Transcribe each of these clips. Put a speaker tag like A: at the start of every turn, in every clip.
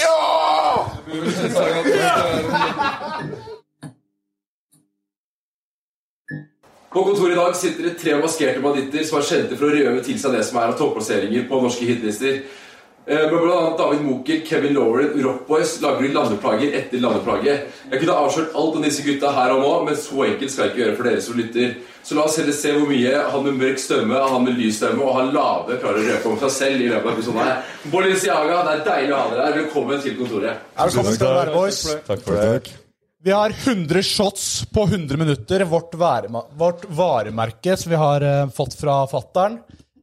A: ja!
B: På kontoret i dag sitter det tre maskerte banditter som er kjente for å røve til seg det som er av topplasseringer på norske hitlister. Eh, Med bl.a. David Moker, Kevin Lauren, Rockboys lager de landeplager etter landeplage. Jeg kunne avslørt alt om disse gutta her og nå, men så enkelt skal jeg ikke gjøre for dere som lytter. Så la oss heller se hvor mye han med mørk stemme, han med lys stemme og han lave klarer å røpe om seg selv i løpet av episoden her. Bolinciaga, det er deilig å ha dere her. Velkommen til kontoret.
A: Velkommen skal dere være, boys.
C: Takk for det.
A: Vi har 100 shots på 100 minutter. Vårt, værema- vårt varemerke som vi har eh, fått fra fattern.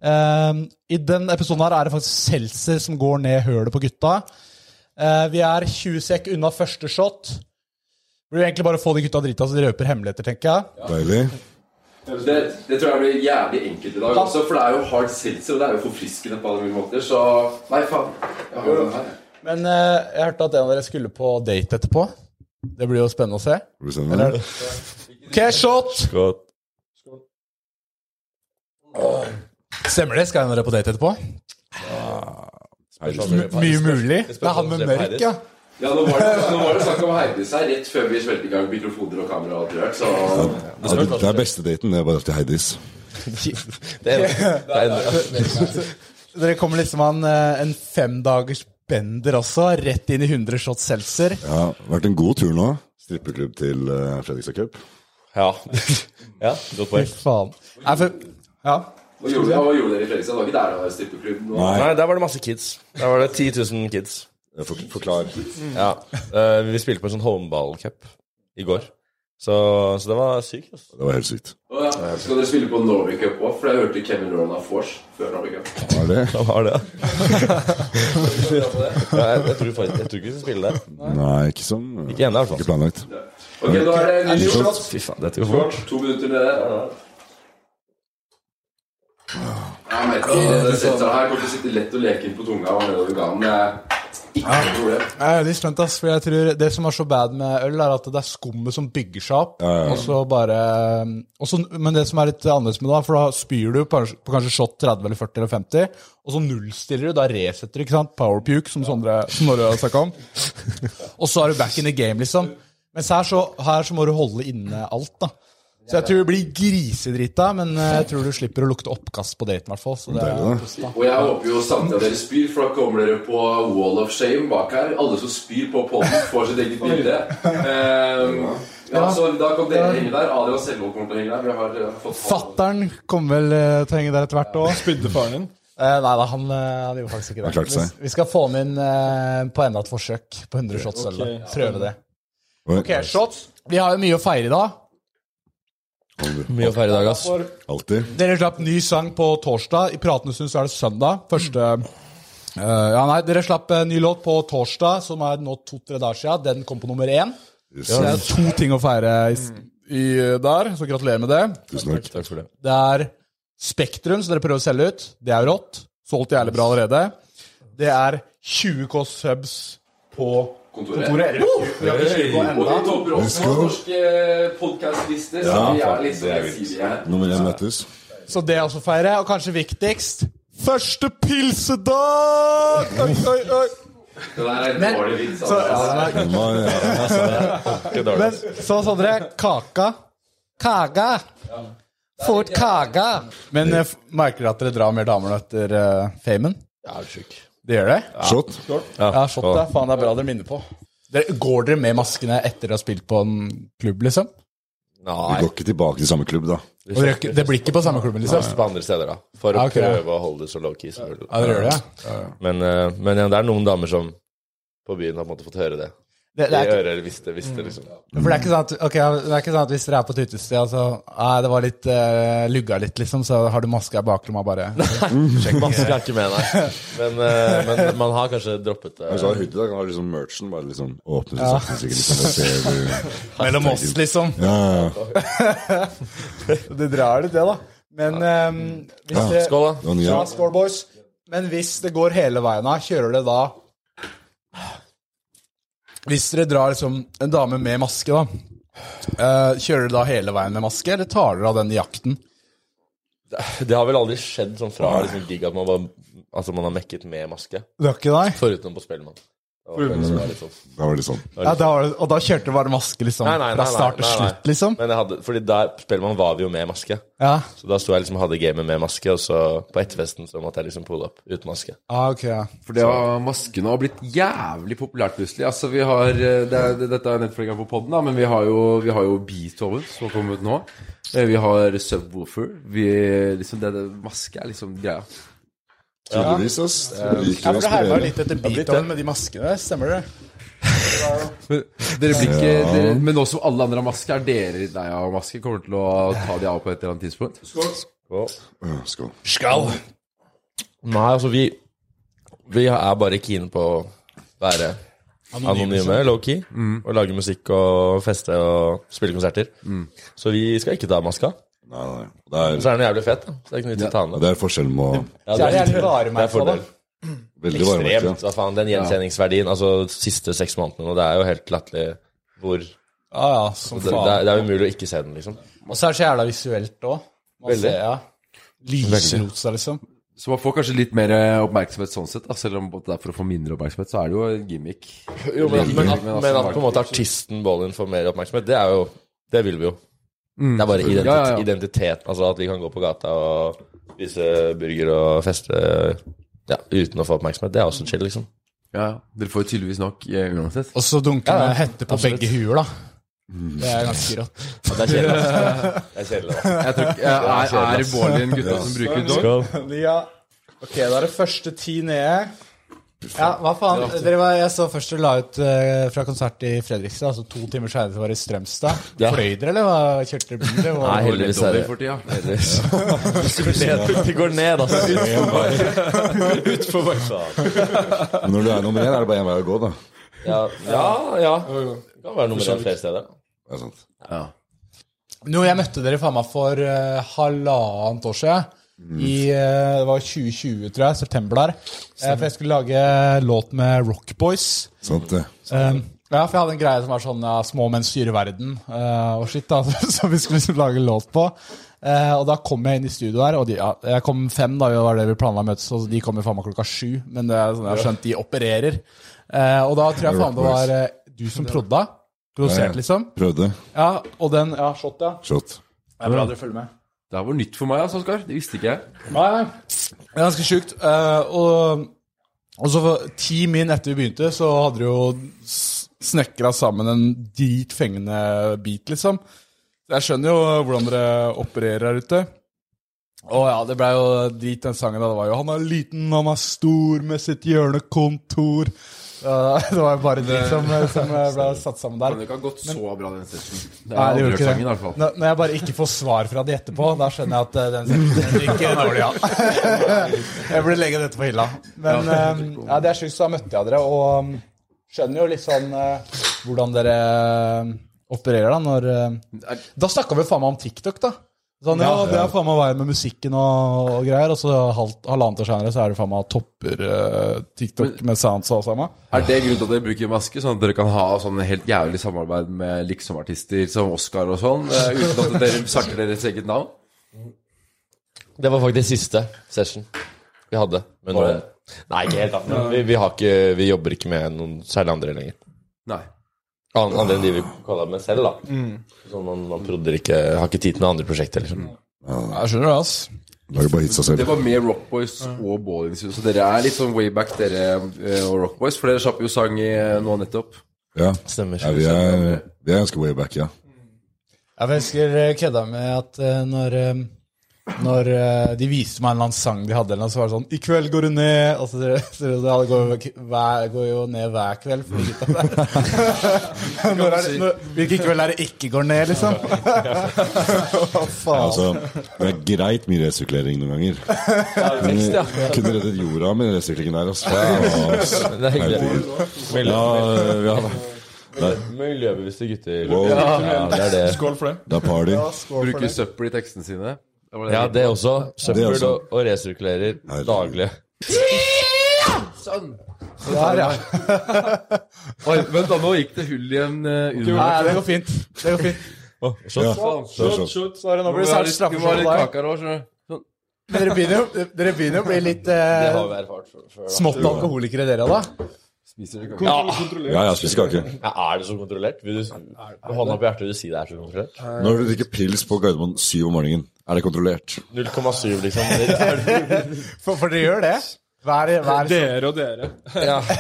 A: Ehm, I den episoden her er det faktisk Seltzer som går ned hølet på gutta. Eh, vi er 20 sek unna første shot. Blir jo egentlig bare å få de gutta drita, så de røper hemmeligheter, tenker jeg.
C: Deilig.
B: Det, det tror jeg blir jævlig enkelt i dag også, for det er jo hard seltzer, og det er jo forfriskende på alle mulige måter, så Nei, faen. Jeg har jo den her.
A: Men eh, jeg hørte at en av dere skulle på date etterpå. Det blir jo spennende å se.
C: Bestemmer.
A: Ok, shot!
C: Godt.
A: Stemmer det? Skal en av dere på date etterpå? M mye mulig. Det er han med mørk, ja.
B: Ja, nå var, det, nå var det snakk om Heidis her rett før vi smelte i gang mikrofoner og kamera og alt rørt, så
C: Ja, det, det er beste daten. Det er bare til Heidis.
A: Dere kommer liksom av en, eh, en femdagers bender også, rett inn i 100 shot seltzer.
C: Ja, vært en god tur nå. Strippeklubb til uh, Fredrikstad Cup.
D: Ja. ja, godt poeng.
A: Faen. Nei, for Ja.
B: Hva gjorde, dere- hva gjorde dere i Fredrikstad? Det var ikke der det var strippeklubb? nå.
D: Nei, der var det masse kids. Der var det 10 000 kids.
C: Eh, For, forklar.
D: Ja. Eh, vi spilte på en sånn homeball-cup i går. Så, så det var sykt. altså. ass.
C: Det var helt sykt.
B: Å ja. Skal dere spille på Norway Cup òg? For jeg hørte Kevin Lauren av Force før Norway Cup.
C: Hva er det?
D: Det var det. ja, jeg, jeg, tror, faktisk- jeg tror ikke vi skal spille der.
C: Nei, ikke som eh,
D: Ikke ennå, i hvert fall.
C: Ikke planlagt.
B: Ok, nå er det en ny shot.
D: Fy faen, dette går fort.
B: Kort, to minutter nede. Jeg merker at det seltzeren her kommer til å sitte lett og leke inn på tunga og nedover ganen. Det er Ikke noe problem.
A: Jeg er veldig spent, ass. For jeg tror det som er så bad med øl, er at det er skummet som bygger seg opp. Og så bare eh, og så- Men det som er litt annerledes med det, da, for da spyr du på, på kanskje shot 30 eller 40 eller 50, og så nullstiller du. Da resetter du, ikke sant? Power puke, som Sondre som Sondre har snakket om. og så er du back in the game, liksom. Mens her så, her så må du holde inne alt, da. Så jeg tror du blir grisedrita, men eh, jeg tror du slipper å lukte oppkast på daten, i hvert fall. Så det er
B: Og jeg håper jo samtidig at dere spyr, for da kommer dere på Wall of Shame bak her. Alle som spyr på podden, får sitt eget bilde. Ehm, ja, så da kan dere henge der. Adrian Selvold kommer til å henge der. Vi har eh, fått
A: Fattern kommer vel eh, til å henge der etter hvert òg.
E: Spydde faren din?
A: Eh, nei da, han, eh, han gjorde faktisk ikke
C: Han klarte
A: det.
C: seg.
A: Vi, vi skal få han inn eh, på enda et forsøk på 100 shots. eller noe. Prøve det. Ok, shots. Vi har jo mye å feire i dag.
D: Mye å feire i dag, ass.
C: Alltid.
A: Dere slapp ny sang på torsdag. I pratende stund så er det søndag. Første eh, Ja, nei, dere slapp eh, ny låt på torsdag, som er nå to-tre dager siden. Den kom på nummer én. Så det er to ting å feire i, s- i, eh, der, så gratulerer med det.
C: Tusen takk.
D: Takk for det.
A: Det er Spektrum, som dere prøver å selge ut. Det er rått. Solgt jævlig bra allerede. Det er 20K subs på
B: kontoret.
A: kontoret. Oh! Vi har ikke 20 på
B: Og vi
A: enda.
B: topper også på norske eh, podkastlister, så vi er litt sånn gjensidige her.
C: Nummer én møtes.
A: Så det er også å feire. Og kanskje viktigst Første pilsedag! Oi, oi, oi.
B: Det der er
A: Men-
B: en dårlig vits.
A: Så,
B: altså.
A: ja, det er-
C: Den var, ja.
A: men så Sondre, kaka. Kaga. Fort kaga. Men eh, f- merker dere at dere drar mer damer nå etter eh, famen?
D: Jeg er sjuk.
A: Det gjør det?
C: Shot.
A: Ja, shot, ja. Faen, det er bra dere minner på. Dere, går dere med maskene etter dere har spilt på en klubb, liksom?
C: Vi
D: Nei.
C: går ikke tilbake til samme klubb, da.
A: Og dere, det blir ikke på samme klubben, liksom?
D: På andre steder, da. For å
A: Ja, ok, ja.
D: prøve å holde det så low-key som mulig.
A: Ja, dere gjør det? ja.
D: Men, eh, men ja, det er noen damer som på byen har på en måte fått høre det.
A: Det,
D: i
A: det, er ikke,
D: øret, hvis det, hvis det liksom
A: for det er ikke sånn at, ok, det er ikke sånn at hvis dere er på tyttestia, så Nei, det var litt eh, lugga litt, liksom, så har du maska i baklomma, bare.
D: Maske er ikke med, nei. Men, eh, men man har kanskje droppet eh, det.
C: Hvis du har hoodie, da kan du ha liksom merchen bare liksom åpne seg sakte, sikkert litt, sånn, og se hvor-
A: Mellom oss, liksom.
C: Ja, ja, ja.
A: Det drar litt, det, da. Men ehm, hvis
C: Ja,
A: det,
D: Skål, da.
C: Det var nye.
A: Ja, skål, boys. Men hvis det går hele veien av, kjører det da Hvis dere drar liksom en dame med maske, da. eh, kjører dere da hele veien med maske, eller tar dere av den i jakten?
D: Det har vel aldri skjedd sånn fra liksom, gig at man, var, altså, man har mekket med maske.
A: Det var ikke deg?
D: Foruten på Spellemann. Det var det som var litt sånn.
C: Da var det sånn.
A: Ja, da var det, og da kjørte dere bare maske, liksom?
D: Nei, nei, nei,
A: fra start til
D: nei, nei.
A: slutt, liksom?
D: Men jeg hadde, fordi der på Spellemann var vi jo med maske.
A: Ja,
D: Så da sto jeg liksom og hadde gamet med maske, og så på etterfesten så måtte jeg liksom pulle opp uten maske.
A: ah, ok. ja.
B: For det har maskene har blitt jævlig populært plutselig. Altså, vi har, eh, det er, det, dette er nettfølgen på podden, da, men vi har jo, vi har jo Beethoven som har kommet ut nå. Eh, Vi har Subwoofer. Vi, liksom, det, det, maske er liksom greia.
C: Tydeligvis, ass. Du
A: Ja,
C: liker
A: for
C: å
A: det herma
C: aspirere.
A: litt etter Beethoven med de maskene, stemmer det?
B: Men Dere blir ikke, dere, men nå som alle andre har maske, er dere lei av maske? Kommer til å ta de av på et eller annet tidspunkt?
C: Ja, Skål.
D: Nei, altså, vi, vi er bare keen på å være anonyme, Mm. low-key, og lage musikk og feste og spille konserter. Så vi skal ikke ta av maska.
C: Nei, nei. Det
D: Så
C: er,
D: er den jævlig fet, da. Så det er ikke noe vits i å ta den av.
C: det er forskjellen med å
D: Ja,
A: Så er det gjerne
D: det er
A: varemerke, da.
D: fordel.
C: Veldig
D: Ekstremt.
C: varemerke.
D: Hva faen, den gjenkjenningsverdien, altså de siste seks månedene nå, det er jo helt latterlig hvor det,
A: Ja, ja, som
D: det, er,
A: faen.
D: det er umulig å ikke se den, liksom.
A: Og så er det så jævla visuelt òg.
D: Veldig.
A: Ja. Lysrosa, liksom.
B: Så man får kanskje litt mer eh, oppmerksomhet sånn sett, da. selv om det er for å få mindre oppmerksomhet, så er det jo en gimmick.
D: Jo, men,
B: Veldig.
D: men, at,
B: Men altså,
D: men at på en måte
B: markedsføring-
D: artisten Bollin får mer oppmerksomhet, det er jo Det vil vi jo. det er bare identitet,
B: Mm. Ja, ja, ja.
D: identitet. Altså at vi kan gå på gata og spise burger og feste ja, uten å få oppmerksomhet. Det er også chill, liksom.
B: Ja, ja. Dere får jo tydeligvis nok eh, uansett.
A: Og så dunker
D: Ja, ja,
A: med hette på
D: absolutt. Mm.
A: begge huer, da. Det er ganske rått.
D: Ja, det er kjedelig. altså. ass. Det er kjedelig. ass.
B: Jeg tror, ikke- er, er Bårli en gutta som bruker dog?
A: Ja. Ok, da er det første ti nede. Ja, hva faen? Dere var, jeg så først dere la ut eh, fra konsert i Fredrikstad, altså to timer seinere var det i Strømstad.
D: Ja.
A: Fløy dere, eller hva? kjørte dere bil? eller hva?
D: Nei, heldigvis er det
B: for tida.
D: Heldigvis. Det går ned, altså. Utfor bakken.
C: Men når du er nummer én, er det bare én vei å gå, da.
D: Ja, ja. ja. Det kan være nummer én flere steder.
C: Det er sant.
A: Nå, jeg møtte dere faen meg for eh, halvannet år siden.
D: Mm.
A: I, eh, det var 2020, tror jeg. September der. Eh, for jeg skulle lage låt med Rock Boys.
C: Sant, det.
A: Um, ja, for jeg hadde en greie som var sånn ja, 'Små menn styrer verden' eh, og shit, da, som vi skulle liksom lage en låt på. Eh, og da kom jeg inn i studio der, og de, ja, jeg kom fem, da, det var det vi planla å møtes, og de kom jo faen meg klokka sju. Men det er sånn jeg har skjønt, de opererer. Eh, og da tror jeg faen det var eh, du som prodda.
C: Ja, ja.
A: Produsert, liksom.
C: Prøvde.
A: Ja, og den Ja, shot, ja.
C: Shot.
A: Det er bra dere følger med.
B: Det her var nytt for meg, altså, Oskar. Det visste ikke jeg.
A: Nei, nei. Det er ganske sjukt. Eh, og, og så for ti min etter vi begynte, så hadde de jo s- snekra sammen en dritfengende bit, liksom. Så jeg skjønner jo hvordan dere opererer her ute. Å ja, det blei jo drit den sangen. da. Det var jo 'Han er liten, han er stor med sitt hjørnekontor'. Eh, det var jo bare drit som, som ble satt sammen der.
B: Men det kan gått så bra, den sessionen. Det
A: Nei, det
B: er
A: gjorde ikke
B: aldri sangen, i
A: det.
B: hvert fall.
A: Når, når jeg bare ikke får svar fra de etterpå, da skjønner jeg at eh, den setningen ryker dårlig av. jeg burde legge dette på hylla. Men eh, ja, det er sjukt, så da møtte jeg dere, og um, skjønner jo litt sånn eh, hvordan dere eh, opererer da når eh, Da snakka vi jo faen meg om TikTok, da. Sånn, ja, det er faen meg veien med musikken og, og greier, og så halvt, halvannet år senere så er det faen meg topper eh, TikTok med sounds og alt sammen.
B: Er det grunnen til at dere bruker maske, sånn at dere kan ha sånn helt jævlig samarbeid med liksomartister som Oscar og sånn, eh, uten at dere sakker deres eget navn?
D: Det var faktisk siste session vi hadde. Men nå, nei, ikke helt. da, Men vi, vi, har ikke, vi jobber ikke med noen særlig andre lenger.
B: Nei.
D: An- Andre enn de vi kaller med selv, da. Så man, man prodder ikke, har ikke tid til noen andre prosjekter, liksom.
A: Jeg skjønner det, altså.
C: Lager bare hitsa selv.
B: Det var med Rock Boys og Ballin, så dere er litt sånn way back, dere eh, og Rock Boys, for dere slapp jo sang i eh, nå nettopp.
C: Ja.
D: Stemmer.
C: ja vi, er, vi er ganske way back, ja.
A: Ja, for Jeg husker jeg kødda med at eh, når eh, Når eh, de viste meg en eller annen sang de hadde, eller noe, så var det sånn I kveld går du ned Og så, så, så det går, jo- hver, går jo ned hver kveld for gutta der. når er det, når, hvilken kveld er det ikke går ned, liksom? Hva faen?
C: Altså, det er greit mye resirkulering noen ganger. Men jeg kunne reddet jorda med den resirkuleringen der. Altså. Ja, altså.
D: Det er hyggelig.
C: Ja, ja,
D: Miljøbevisste gutter.
C: Wow.
D: Ja, det er det.
A: Skål for det.
C: det er party.
B: Bruker søppel i tekstene sine. Det var det
D: Ja,
B: jeg-
D: det også. Søppel
C: også.
D: og- og resirkulerer daglig.
A: Der, ja.
B: Oi, vent da, nå gikk det hull i en eh,
A: Nei,
B: urinvei.
A: det går fint. Det går fint.
C: Ja,
B: Faen.
C: det er sånn.
A: Sorry, nå blir det snart
B: Vi må ha litt- vi må ha
A: straffeskyld
B: litt
A: på deg.
B: kake her også, skjønner du.
A: Men Dere begynner, jo- dere begynner jo å bli litt
D: Det
A: eh,
D: har vi erfart før. før, da.
A: smått alkoholikere, dere, da.
C: ja, jeg spiser kake.
D: Ja, er det så kontrollert? Vil du, hånda på hjertet, vil du si det er så kontrollert?
C: Når du drikker pils på Gardermoen syv om morgenen, er det kontrollert?
D: 0,7, liksom. Det er-
A: For, for dere gjør det. Hver, hver, det,
F: Dere og dere.
D: Ja. Nei,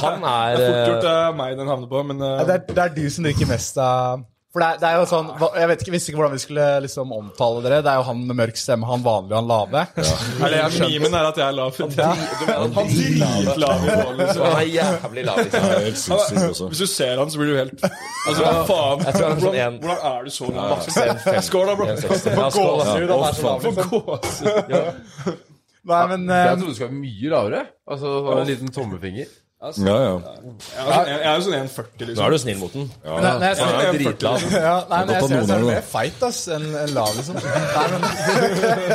D: han er
F: Fort
D: eh,
F: gjort det er meg den havner på, men eh,
A: er, det er du som drikker mest av For det er, det er jo sånn hva- Jeg vet ikke, visste ikke hvordan vi skulle liksom omtale dere. Det er jo han med mørk stemme, han vanlige, han lave.
F: Eller jeg mimen er at jeg er lav. Du mener at Han dritlav i mål, liksom.
D: Han er jævlig lav, liksom.
C: Det er helt sinnssykt også.
F: Hvis du ser han, så blir du helt Altså, hva faen?
D: Jeg tror han er sånn
F: Hvordan,
D: en-
F: hvordan er du så lav? Skål, da, bro.
D: Ja, skål, da.
A: Gåsehud, han er så lav.
F: For gås.
A: Nei, men
B: Jeg
A: eh,
B: trodde du skulle være mye lavere. Altså, ha en liten tommefinger.
C: Ja, ja.
F: Jeg er sånn- jeg er jo sånn 1,40,
D: Nå
F: liksom.
D: er du snill mot den.
A: men jeg- når jeg ser-
D: Han er dritlav.
A: ja, nei, men jeg
C: Godt at
A: ser så er
C: noen er
A: du
C: det,
A: mer
C: da.
A: feit, ass, enn enn lav, liksom. Nei,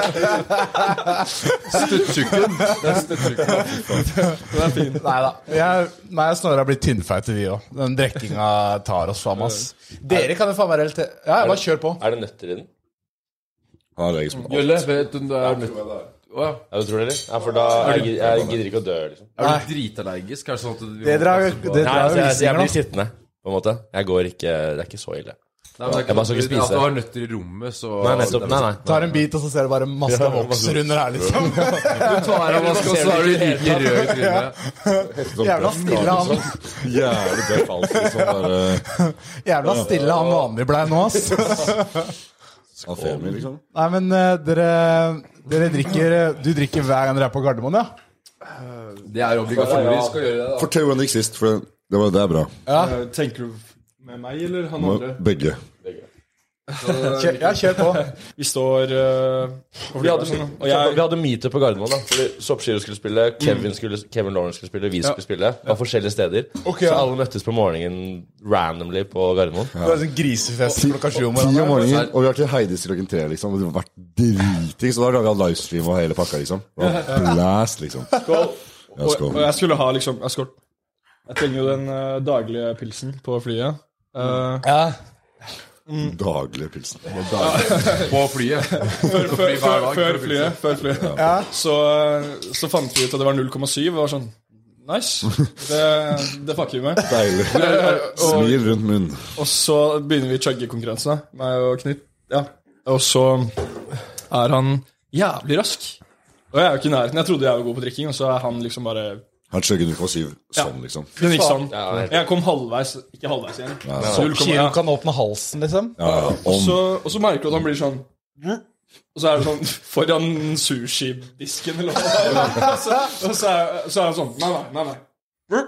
A: men, liksom.
B: Stuttjukken. Det er stuttjukken.
A: nei da. Jeg, nei, jeg Snorre har blitt tynnfeite, vi òg. Den drikkinga tar oss faen, ass. Dere kan jo faen meg reelt Ja, jeg bare kjør på.
D: Er det nøtter i den?
C: Han er allergisk mot alt.
B: Jølle, vet du om du er nødt Å ja.
D: Ja, du tror det, eller? Ja, for da jeg, gid- jeg gidder ikke å dø, liksom.
B: Er du dritallergisk? Er det sånn at du
A: Det drar det
D: Nei,
A: drar
D: altså,
A: jo
D: jeg, jeg
A: visninger,
D: blir
A: da.
D: sittende, på en måte. Jeg går ikke Det er ikke så ille.
B: Nei, men det er
D: Jeg bare skal ikke spise
B: At du har nøtter i rommet, så
D: Nei, nettopp. Nei, nei.
A: Tar en bit, og så ser du bare masse
D: Ja,
A: vokser under her, liksom.
B: Du tar av masken, og så er du helt rød i trynet.
A: Jævla stille han,
C: Jævlig døff alt, liksom. Bare
A: jævla stille han vanlig blei nå, ass.
C: Alfemi, liksom.
A: Nei, men eh, dere, dere drikker Du drikker hver gang dere er på Gardermoen, ja?
B: Det er obligatorisk å gjøre det. da
C: Fortell hvordan det gikk sist, for det, var, det er bra.
F: Eh, Tenker du med meg eller han
C: Må-
F: andre?
C: Begge.
A: Kjør, ja, kjør på.
F: Vi står eh,
D: Vi hadde,
F: Og jeg- Mm.
D: vi hadde meetup på Gardermoen. da Fordi Soppskiro skulle spille, Kevin, skulle, Kevin Lawrence skulle spille, vi skulle spille. Det var forskjellige steder. Så alle møttes på morgenen randomly på Gardermoen.
A: Det er sånn grisefest klokka sju om
C: Ti om
A: morgenen.
C: morgenen, og vi har til Heidis klokken tre, liksom. Og det har vært driting, så da har vi hatt livestream og hele pakka, liksom. Det var Blast, liksom. Ja,
F: Og,
C: skål.
F: og jeg skulle ha liksom ja, Skål. Jeg trenger jo den eh, daglige pilsen på flyet. Eh,
C: Daglig pilsen.
B: På flyet.
F: før, før,
B: fly hver
F: før,
B: dag, for å
F: før
B: sånn.
F: flyet. Før flyet. Så, eh, så fant vi ut at det var 0,7. Og var sånn Nice. Det, det fucker vi med.
C: Deilig. Smil rundt munnen.
F: Og så begynner vi chugge-konkurransen, da, meg og Knut. Ja. Og så er han jævlig rask. Og jeg er jo ikke i nærheten. Jeg trodde jeg var god på drikking, og så er han liksom bare
C: Han chugger 0,7 sånn, liksom.
F: Den gikk sånn.
D: Ja, det er helt-
F: Jeg kom halvveis. Ikke halvveis igjen.
A: Så
F: 0,1.
A: Kiro kan åpne halsen, liksom.
C: Ja, ja. Om
F: så, Sånn. og så merker du at han blir sånn Og så er det sånn foran sushidisken, eller hva det er. Og så, og så, er, så er han sånn Nei, nei, nei. nei.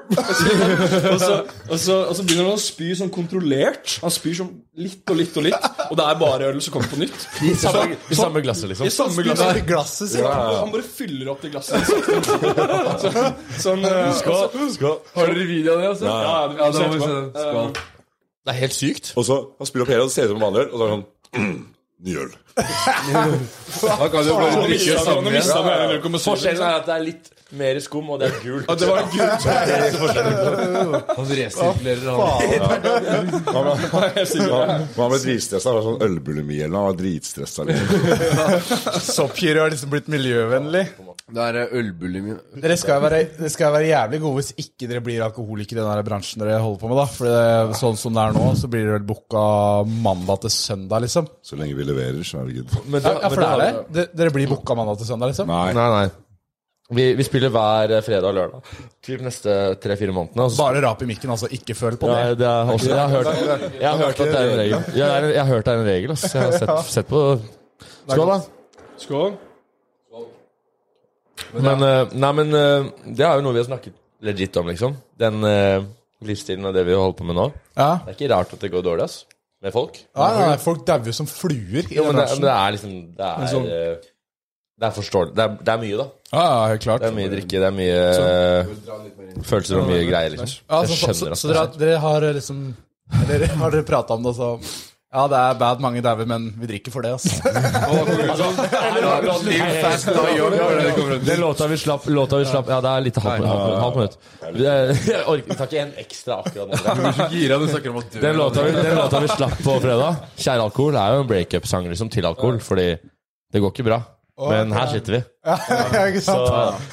F: Og så, og, så, og så begynner han å spy sånn kontrollert. Han spyr sånn litt og litt og litt. Og det er bare øl som kommer på nytt.
D: I samme, i
F: Sånn-
D: samme glasset, liksom.
F: I samme
A: Du
F: glass.
A: tar glasset sitt.
F: Han bare fyller opp det glasset. Så, sånn, eh, og så-
B: Har dere video av det? altså?
F: Ja, det
B: Ja,
F: vi
B: da
F: ser
B: må vi se.
F: etterpå.
B: Skål.
F: sånn-
D: Det er helt sykt.
C: Og så han spiller opp hele, og ser ut som vanlig øl, og så er han Ny øl.
B: Da kan du jo bare
F: Så
B: drikke
F: mistet han-
B: sammen.
F: nå mistet han hele 0,7.
D: Forskjellen er at det er litt mer skum, og det er gult.
F: Det var gult.
B: Han resirkulerer han.
C: Han var,
F: Jeg sier det.
C: han var dritstressa. Han var sånn ølbulimi eller noe, Han var dritstressa. Liksom.
A: Soppkiro har liksom blitt miljøvennlig.
B: Det er eh, ølbulimien.
A: Dere skal jo være, dere skal jo være jævlig gode hvis ikke dere blir alkoholikere i den her bransjen dere holder på med, da. For det, sånn som det er nå, så blir dere vel booka mandag til søndag, liksom.
C: Så lenge vi leverer, så er det good.
D: Men da-
A: Ja, ja, for
D: men
A: det
D: da-
A: er det. De- Dere blir booka mandag til søndag, liksom?
C: Nei.
D: Nei, nei. Vi, vi spiller hver eh, fredag og lørdag. Typ neste tre-fire månedene. Og så
A: Bare rap i mikken, altså. Ikke føl på det.
D: Ja, det er også, jeg, har hørt, jeg har hørt at det er en regel. Jeg, er, jeg har hørt det er en regel. ass. Jeg har sett, sett på Skål, da.
F: Skål.
D: Men, eh, nei, men eh, det er jo noe vi har snakket legit om, liksom. Den eh, livsstilen og det vi holder på med nå.
A: Ja.
D: Det er ikke rart at det går dårlig, ass. Med folk.
A: Nei, nei, nei, folk dauer som fluer i
D: Jo, men det,
A: bransjen.
D: men det er liksom Det er, eh, det er forståelig. Det er, det er mye, da.
A: Ja, ja, helt klart.
D: Det er mye drikke, det er mye eh, følelser og mye greier, liksom.
A: Ja, så,
D: Jeg
A: så,
D: skjønner altså.
A: så,
D: at sånn.
A: så dere, har- dere har liksom Eller har dere prata om det, så Ja, det er bad mange dauer, men vi drikker for det, altså.
D: Den låta vi slapp, låta vi slapp Ja, det er litt halvt halv, halv minutt. Jeg orker jeg tar ikke en ekstra akkurat nå.
B: Du er så gira, du snakker om at du
D: Den låta, vi, den låta vi slapp på fredag, 'Kjære alkohol', er jo en breakup-sang liksom, til alkohol, fordi det går ikke bra. Men her sitter vi.
A: Ikke sant?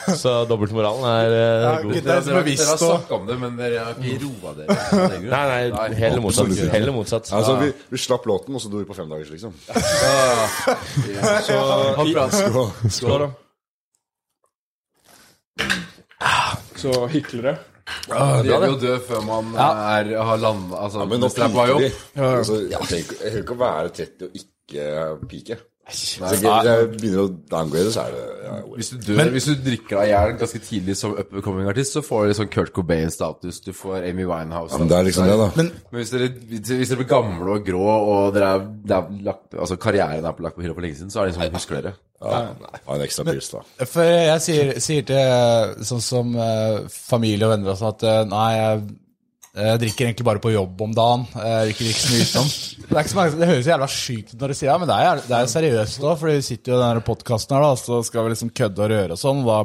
D: Så, så dobbeltmoralen er eh, god.
A: Gutta er
B: Dere har, dere
A: bevisst
B: har
A: og
B: snakka om det, men dere har ikke roa dere. Nei,
D: Nei, nei, heller motsatt.
C: Absolutt.
D: Heller motsatt.
C: Altså, vi, vi slapp låten, og så dro vi på femdagers, liksom.
F: Skål, da. Så hyklere.
B: Det gjelder jo å dø før man er, har landa altså,
C: Men nå
B: hvis det er på jobb.
C: piker vi. Altså, jeg trenger ikke- jeg trenger ikke å være 30 og ikke pike. Hvis jeg, jeg begynner å downgrade, så er det ja,
B: Hvis du, dør, hvis du drikker deg i hjel ganske tidlig som upcoming artist, så får du sånn Kurt Cobain-status, du får Amy Winehouse
C: Men det er liksom det, da.
A: Men
B: Men hvis dere, hvis dere blir gamle og grå, og dere er, det er lagt, altså karrieren er på lagt på hylla for lenge siden, så er det liksom husker dere.
C: Ha en ekstra pils, da.
A: for jeg sier, sier til sånn som eh, familie og venner og sånn at eh, nei, jeg, jeg drikker egentlig bare på jobb om dagen. Jeg drikker ikke så mye utenom. Det, er ikke så mange, det høres jævla sykt ut når du sier det, men det er, jævla- det er jo seriøst òg, for vi sitter jo i denne podkasten her, da, og så skal vi liksom kødde og røre og sånn. og Da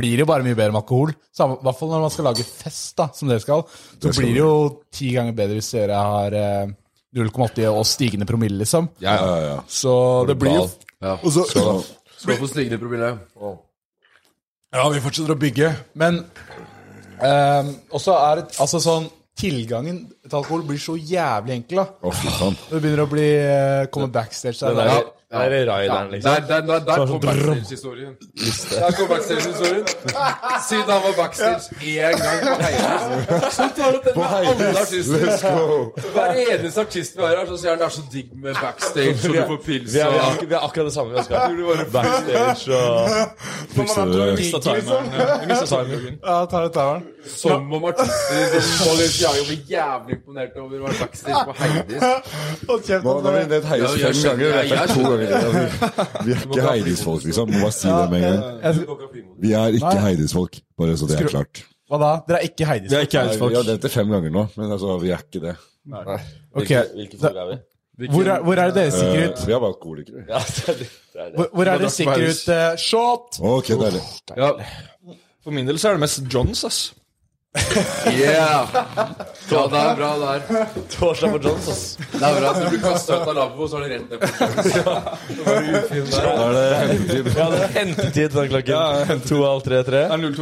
A: blir det jo bare mye bedre med alkohol. Samme- I hvert fall når man skal lage fest, da, som dere skal. Så blir det jo ti ganger bedre hvis dere har eh, 0,80 og stigende promille, liksom.
C: Ja, ja, ja.
A: Så det blir jo
B: Ja.
A: og så-
B: Skål for stigende promille.
A: Ja, vi fortsetter å bygge. Men eh, også er det altså sånn Tilgangen til alkohol blir så jævlig enkel. da
C: Å, fy faen.
A: Det begynner å bli eh, komme backstage der.
D: Der,
A: Ja.
D: der er
B: Ja,
D: raideren,
B: der,
D: liksom.
B: der, der, der kom backstage-historien. Der kom backstage-historien. Siden han var backstage én gang på Heidis, så tar han opp den med alle artister. Hver eneste artist vi har her, så sier han det er så digg med backstage, og du får pils
D: Vi er, vi, er,
B: og
D: ak- vi er akkurat det samme. vi Oskar. Backstage og
F: Jeg mista timeren. Jeg mistet timeren.
A: Ja, tar det taveren.
B: Som om artister som Balenciaga blir jævlig imponert over å være backstage på Heidis.
A: Og kjeft
C: Nå
A: at
C: nå
A: det
C: blir det heies
B: Ja, jeg
C: fem ganger.
B: skjønner,
C: Det er
B: jeg
C: to ganger. Altså, vi er ikke Heidis-folk, liksom. Må bare si det med en gang. Vi er ikke Heidis-folk, bare så det er klart.
A: Hva da? Dere er ikke Heidis?
F: Det er ikke
C: Nei,
F: jeg,
C: Vi har
F: folk.
C: nevnt det fem ganger nå, men altså, vi er ikke det.
A: Ok,
D: Hvilke folk er vi?
A: Hvor er, hvor er det dere
C: Eh,
A: stikker ut?
C: Vi er bare alkoholikere. vi.
D: Ja, det er det. det, er det.
A: Hvor, hvor er dere stikker ut? eh, shot!
C: Ok, deilig.
F: Ja. For min del så er det mest Johns, ass.
B: Yeah! Ja, det er bra der.
D: Torsdag på Johns, ass.
B: Det er bra at du blir kasta ut av lavvo, så er det rett ned på
C: Da er det hentetid.
D: Ja, det er hentetid fra klokken to halv tre-tre.
F: Det er 02.35,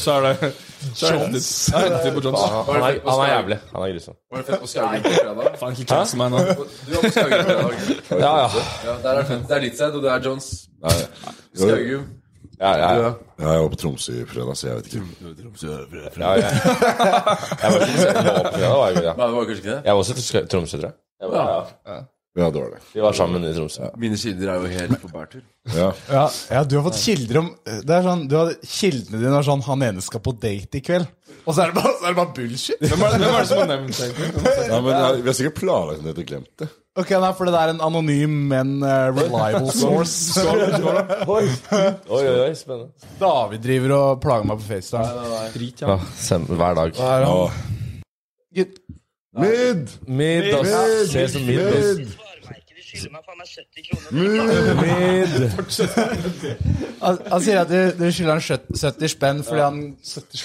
F: så er det så er det hentet på Johns.
D: Ah, Han er, han er jævlig. Han er grusom.
B: Var det fett på Skaugum på fredag?
F: Faen, ikke cancel meg nå.
B: Du var på Skaugum på fredag.
D: Ja, ja.
B: Ja, der er fett. Det er Litzhead, og det er Johns.
C: Jo,
B: Skaugum.
D: ja, ja, ja.
C: Jeg var på Tromsø i fredag, så jeg vet ikke.
D: Ja, ja. Jeg var ikke så opp, ja, det var jeg, ja.
B: Nei, det var kanskje ikke det.
D: jeg var også til Skø- Tromsø, tror jeg. Jeg var, ja.
C: Ja, det var det.
D: Vi var sammen i Tromsø.
B: Mine kilder er jo helt på bærtur.
C: Ja.
A: Ja, ja, du har fått kilder om Det er sånn, du har, Kildene dine er sånn 'Han ene skal på date i kveld', og så er det bare, så er det bare bullshit.
F: Hvem er, hvem er det som har nevnt det? egentlig?
C: Nei, men jeg- vi har sikkert planlagt det og glemt det.
A: Ok, nei, for det er en anonym, men eh, reliable source.
D: Oi, oi, oi, spennende.
A: David driver og plager meg på FaceTime.
D: Ja, send, hver dag.
C: Åh.
A: Gutt,
C: Mid!
D: Mid, ass. Ses som mid, ass.
C: Mid!
G: Svarmerket, de skylder meg faen meg 70 kroner.
C: Mid!
A: Han, han sier at dere dere skylder han sjøt- 70 spenn fordi han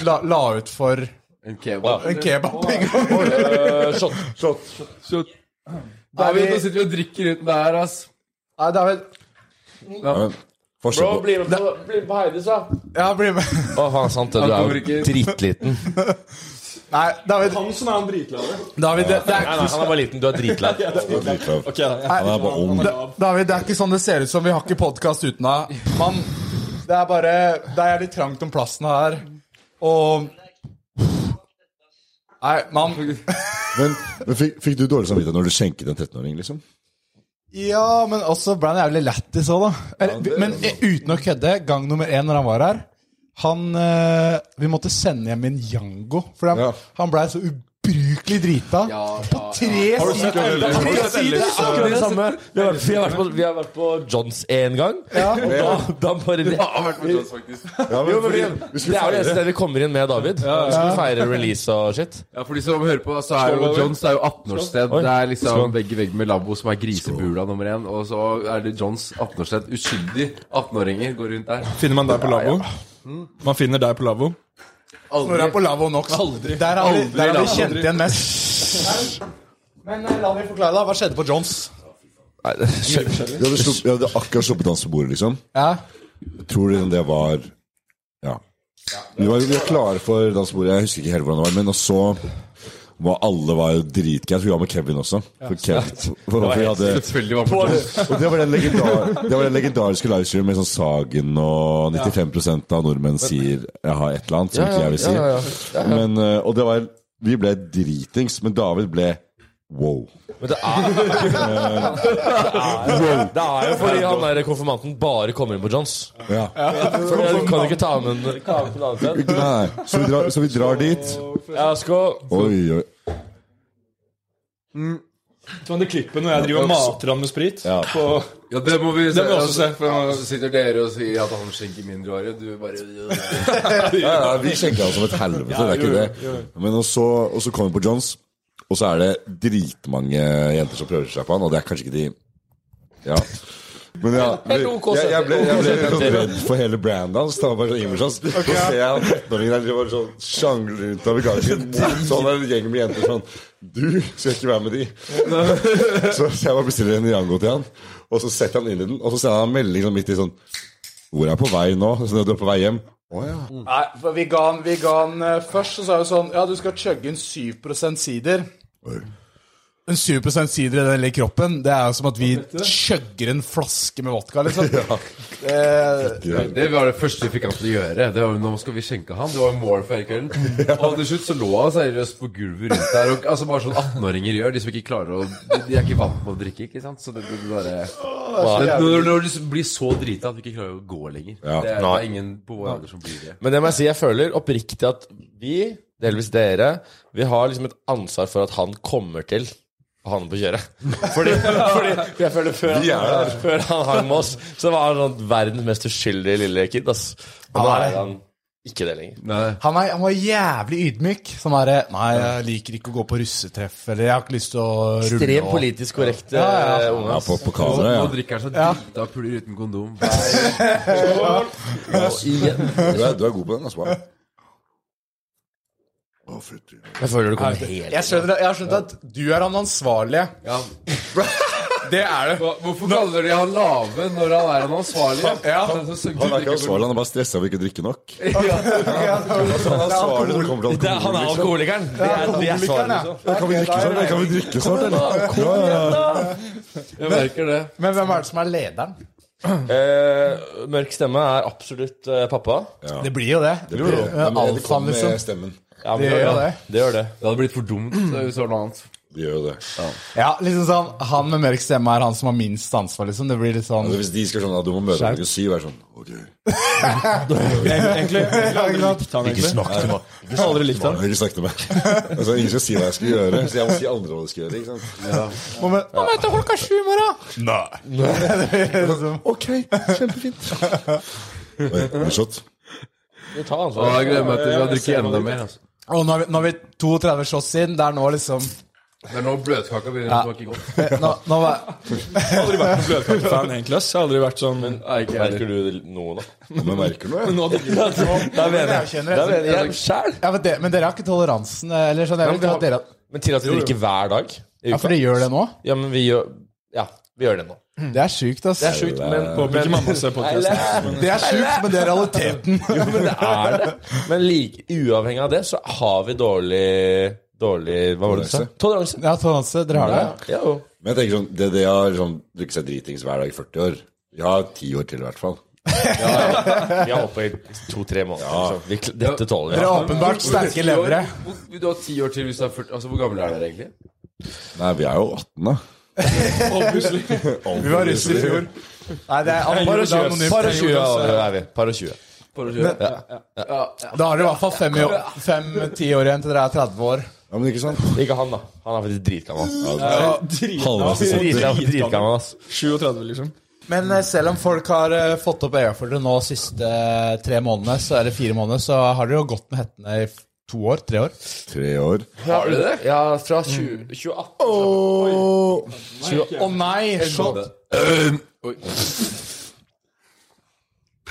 A: la, la ut for en
B: En kebab.
A: kebab. en gang.
D: Øh, Shot.
B: David, nå sitter vi og drikker uten det her, ass.
A: Nei, David.
C: Men, Forskjell på
D: bli med på, Heidis, da.
A: Ja, bli med.
D: Å, faen, sant det. Du er jo dritliten.
A: Nei, David.
F: Hansen er han dritlaver.
A: David, det, det er,
D: Nei, nei, han er bare liten. Du er dritlei.
C: dritlav.
F: Ok, da.
A: nei,
C: Han er bare ung.
A: Da- David, det er ikke sånn det ser ut som. Vi har ikke podkast uten deg. Mann, det er bare Det er litt trangt om plassen her. Og Nei, mann.
C: Men, men fikk, fikk du dårlig samvittighet når du skjenket en 13-åring, liksom?
A: Ja, men også ble han jævlig lættis òg, da. Eller, men uten å kødde, gang nummer én når han var her Han eh, Vi måtte sende hjem en Jango, for han,
C: Ja.
A: han blei så ubrukelig drita. på tre sider! Tre sider!
D: Akkurat det samme. Vi har, vært- vi har vært på, vi har vært på Johns én gang. Og da, da bare
B: Jeg har vært med Johns, faktisk.
C: Ja, men,
D: Jo, men vi,
C: fordi, vi
D: det
C: skulle
D: er jo det
C: feire.
D: eneste stedet vi kommer inn med David. Vi skulle feire release og shit.
B: Ja, For de som hører på, så er jo Johns er jo 18-årssted.
D: Oi.
B: Det er
D: Skål.
B: liksom vegg i vegg med Labo, som er grisebula nummer én. Og så er det Johns 18-årssted. Uskyldig 18-åringer går rundt der.
F: Finner man deg på lavvo? Man finner deg på lavvo.
A: Når han er på Lavo Nox.
F: Aldri.
A: Der har vi, der har vi
B: Aldri.
A: kjent igjen mest. Men eh, la meg forklare deg. Hva skjedde på Johns?
C: Vi hadde, slupp, vi hadde akkurat sluppet hans på bordet, liksom.
A: Ja.
C: tror liksom det var Ja. Vi var, vi var klare for dansebordet, jeg husker ikke helt hvordan det var, men og så var alle var jo dritgære. for Vi var med Kevin også. For Kevin, for, for vi hadde,
B: Selvfølgelig var på Johns.
C: og det var den, legendar, det var den legendariske livestreamen med sånn Sagen og 95 av nordmenn sier 'jeg har et eller annet' som ikke jeg vil si. Men, eh, og det var Vi ble dritings, men David ble wow. Eh,
D: Men det er, det, er, det er jo fordi han der konfirmanten bare kommer inn på Johns.
C: Ja.
D: For jeg kan jo ikke ta med en ta med en annen sted.
C: Nei, så, vi drar, så vi drar dit.
D: Ja, skål.
C: Oi, oi.
F: Sånn det klippet når jeg driver og mater han med sprit. På,
B: Ja, det må vi se.
F: Det må vi også se, for han-
B: Så sitter dere og sier at han skjenker mindreårige. Du bare
C: Ja, ja, vi skjenker han som et helvete, det er ikke det. Men og så, og så kommer vi på Johns, og så er det dritmange jenter som prøver seg på han, og det er kanskje ikke de Ja. Men ja, vi,
D: Helt ok
C: jeg, jeg ble, jeg ble
D: sett.
C: litt sånn redd for hele brandet hans. Det var bare sånn image hans. Så ser jeg han 13-åringen der driver og sånn sjangler rundt over gangen. Sånn er en gjeng med jenter sånn Du skal ikke være med de. Så, så jeg bare bestiller en Jango til han, og så setter han inn i den, og så sender han en melding sånn midt i sånn Hvor er jeg på vei nå? Sånn, du er på vei hjem. Å ja.
A: Nei, for vi ga han, vi ga han eh, først, så sa vi sånn Ja, du skal chugge en 7 sider. En 7 sider i den lille kroppen, det er jo som at vi chugger en flaske med vodka, liksom. Eh,
B: Det var det første vi fikk han til å gjøre. Det var jo, Nå skal vi skjenke han. Det var jo mål for hele kvelden. Og til slutt så lå han seriøst på gulvet rundt der. Og, altså Bare sånn 18-åringer gjør. De som ikke klarer å De de er ikke vant med å drikke, ikke sant. Så det, det, det bare det, når, når du liksom blir så drita at du ikke klarer å gå lenger
C: Ja.
B: det, er, det
D: Nei.
B: er ingen på vår alder som blir det.
D: Men det må jeg si, jeg føler oppriktig at vi, delvis dere, vi har liksom et ansvar for at han kommer til å ha noe på kjøret. Fordi, fordi jeg føler før
C: Vi er
D: han,
C: der.
D: før han hang med oss, så var han sånn verdens mest uskyldige lille kid, ass. Og nå er han ikke det lenger.
B: Nei.
A: han, er, han var jævlig ydmyk. Sånn derre Nei, jeg liker ikke å gå på russetreff, eller jeg har ikke lyst til å rulle
D: Ekstremt
A: og-
D: politisk korrekte
A: Ja, ja.
D: unge,
C: Ja,
D: ass.
C: på, på
B: Nå,
C: kamera,
B: nå
C: ja.
B: drikker han så drita puler uten kondom. Nei,
D: Og igjen.
C: Du er, du er god på den, altså. Bare. Å, fytti.
D: Jeg føler det kommer helt
A: Jeg skjønner, jeg har skjønt at du er han ansvarlige.
B: ja.
A: Det er det.
B: Hva- Hvorfor kaller de han lave når han er han ansvarlig?
A: Ja.
C: Han er ikke ansvarlig, han er bare stressa for ikke å drikke nok. Han er ansvarlig når det kommer til
D: Han er
B: Liksom.
C: alkohol.
D: alkoholikeren. Det er, det er svaret. liksom.
C: Ja, Kan vi drikke snart, eller? Kan vi drikke snart, eller? Ja, ja, ja.
B: Jeg merker det.
A: Men hvem er det som er lederen?
D: Eh, mørk stemme er absolutt eh, pappa.
A: Det blir jo det.
C: Det blir det.
A: Ja,
C: De- de
A: alfaen,
C: kom
A: liksom.
C: med stemmen.
D: Ja, men
A: Det gjør det.
D: det gjør det.
B: Det hadde blitt for dumt hvis det var noe annet.
C: De gjør jo det.
A: Ja, liksom sånn, Han med mørk stemme er han som har minst ansvar, liksom. Det blir litt sånn
C: Altså, hvis de skal sånn at du må møte klokken syv, er det sånn Ok.
F: egentlig. Jeg har aldri likt han, egentlig.
C: snakk til meg.
F: Jeg har aldri likt han.
C: Ikke snakk til meg. Altså, ingen skal si hva jeg skal gjøre, så jeg må si andre hva de skal gjøre. ikke sant?
A: Må mø- må møte klokka sju i morgen! Nei.
C: Ok, kjempefint. Oi, en shot.
D: Vi tar
B: Å,
D: ansvar.
B: jeg gleder meg til å drikke enda mer. Altså.
A: Og nå har vi, nå har vi 32 shots inn. Det er nå liksom
B: Det er nå bløtkaka begynner å smake godt.
A: Nå, nå var,
F: Jeg har aldri vært en bløtkakefan, egentlig. ass. Jeg har aldri vært sånn men,
D: Merker du noe nå?
C: Men merker du noe?
F: nå,
D: Da mener
A: jeg kjenner det.
D: jeg sjæl.
A: ja, men, det, men dere har ikke toleransen? eh, Eller sånn, jeg vil
D: vi
A: ikke
D: har-
A: at dere
D: Men til at vi drikker hver dag. i
A: Ja,
D: uka.
A: For dere gjør det nå?
D: Ja, men vi gjør Ja, vi gjør det nå.
A: Det er sjukt, ass.
D: Det er sjukt, men
F: Håper ikke mamma ser podkasten.
A: Det er sjukt, men det er realiteten.
D: Jo, men det er det. Men like, uavhengig av det, så har vi dårlig Dårlig Hva var det du sa? Toleranse.
A: Ja, toleranse. Dere har det?
D: Ja, jo.
C: Men jeg tenker sånn, det, det har liksom drukket seg dritings hver dag i 40 år. Ja, 10 år til i hvert fall.
D: Vi har holdt på i to-tre måneder. Så vi, kl- dette tåler vi.
A: Dere har åpenbart sterke levere.
B: Hvor- Du har ti år til hvis du er 40 Altså, hvor gammel er dere egentlig?
C: Nei, vi er jo 18 da.
F: Obviously.
A: Vi var russ i fjor. Nei, det er
F: Jeg gjorde det anonymt.
D: Par og 20
A: Jonas,
D: år er vi. Par og 20.
A: Da har dere i hvert fall fem-ti år, fem, ti år igjen til dere er 30 år.
C: Ja, men ikke sant?
D: Ikke han, da. Han er faktisk dritgammel.
C: Halvveis i
D: Drit-
C: sånt.
D: Dritgammel, ass.
F: 37, liksom.
A: Men eh, selv om folk har eh, fått opp øya for det nå siste tre månedene, så, eller fire måneder, så har dere jo gått med hettene i f- to år, tre år.
C: Tre år.
D: Har du det? Ja, fra 20, 2018.
A: Å nei! Shot.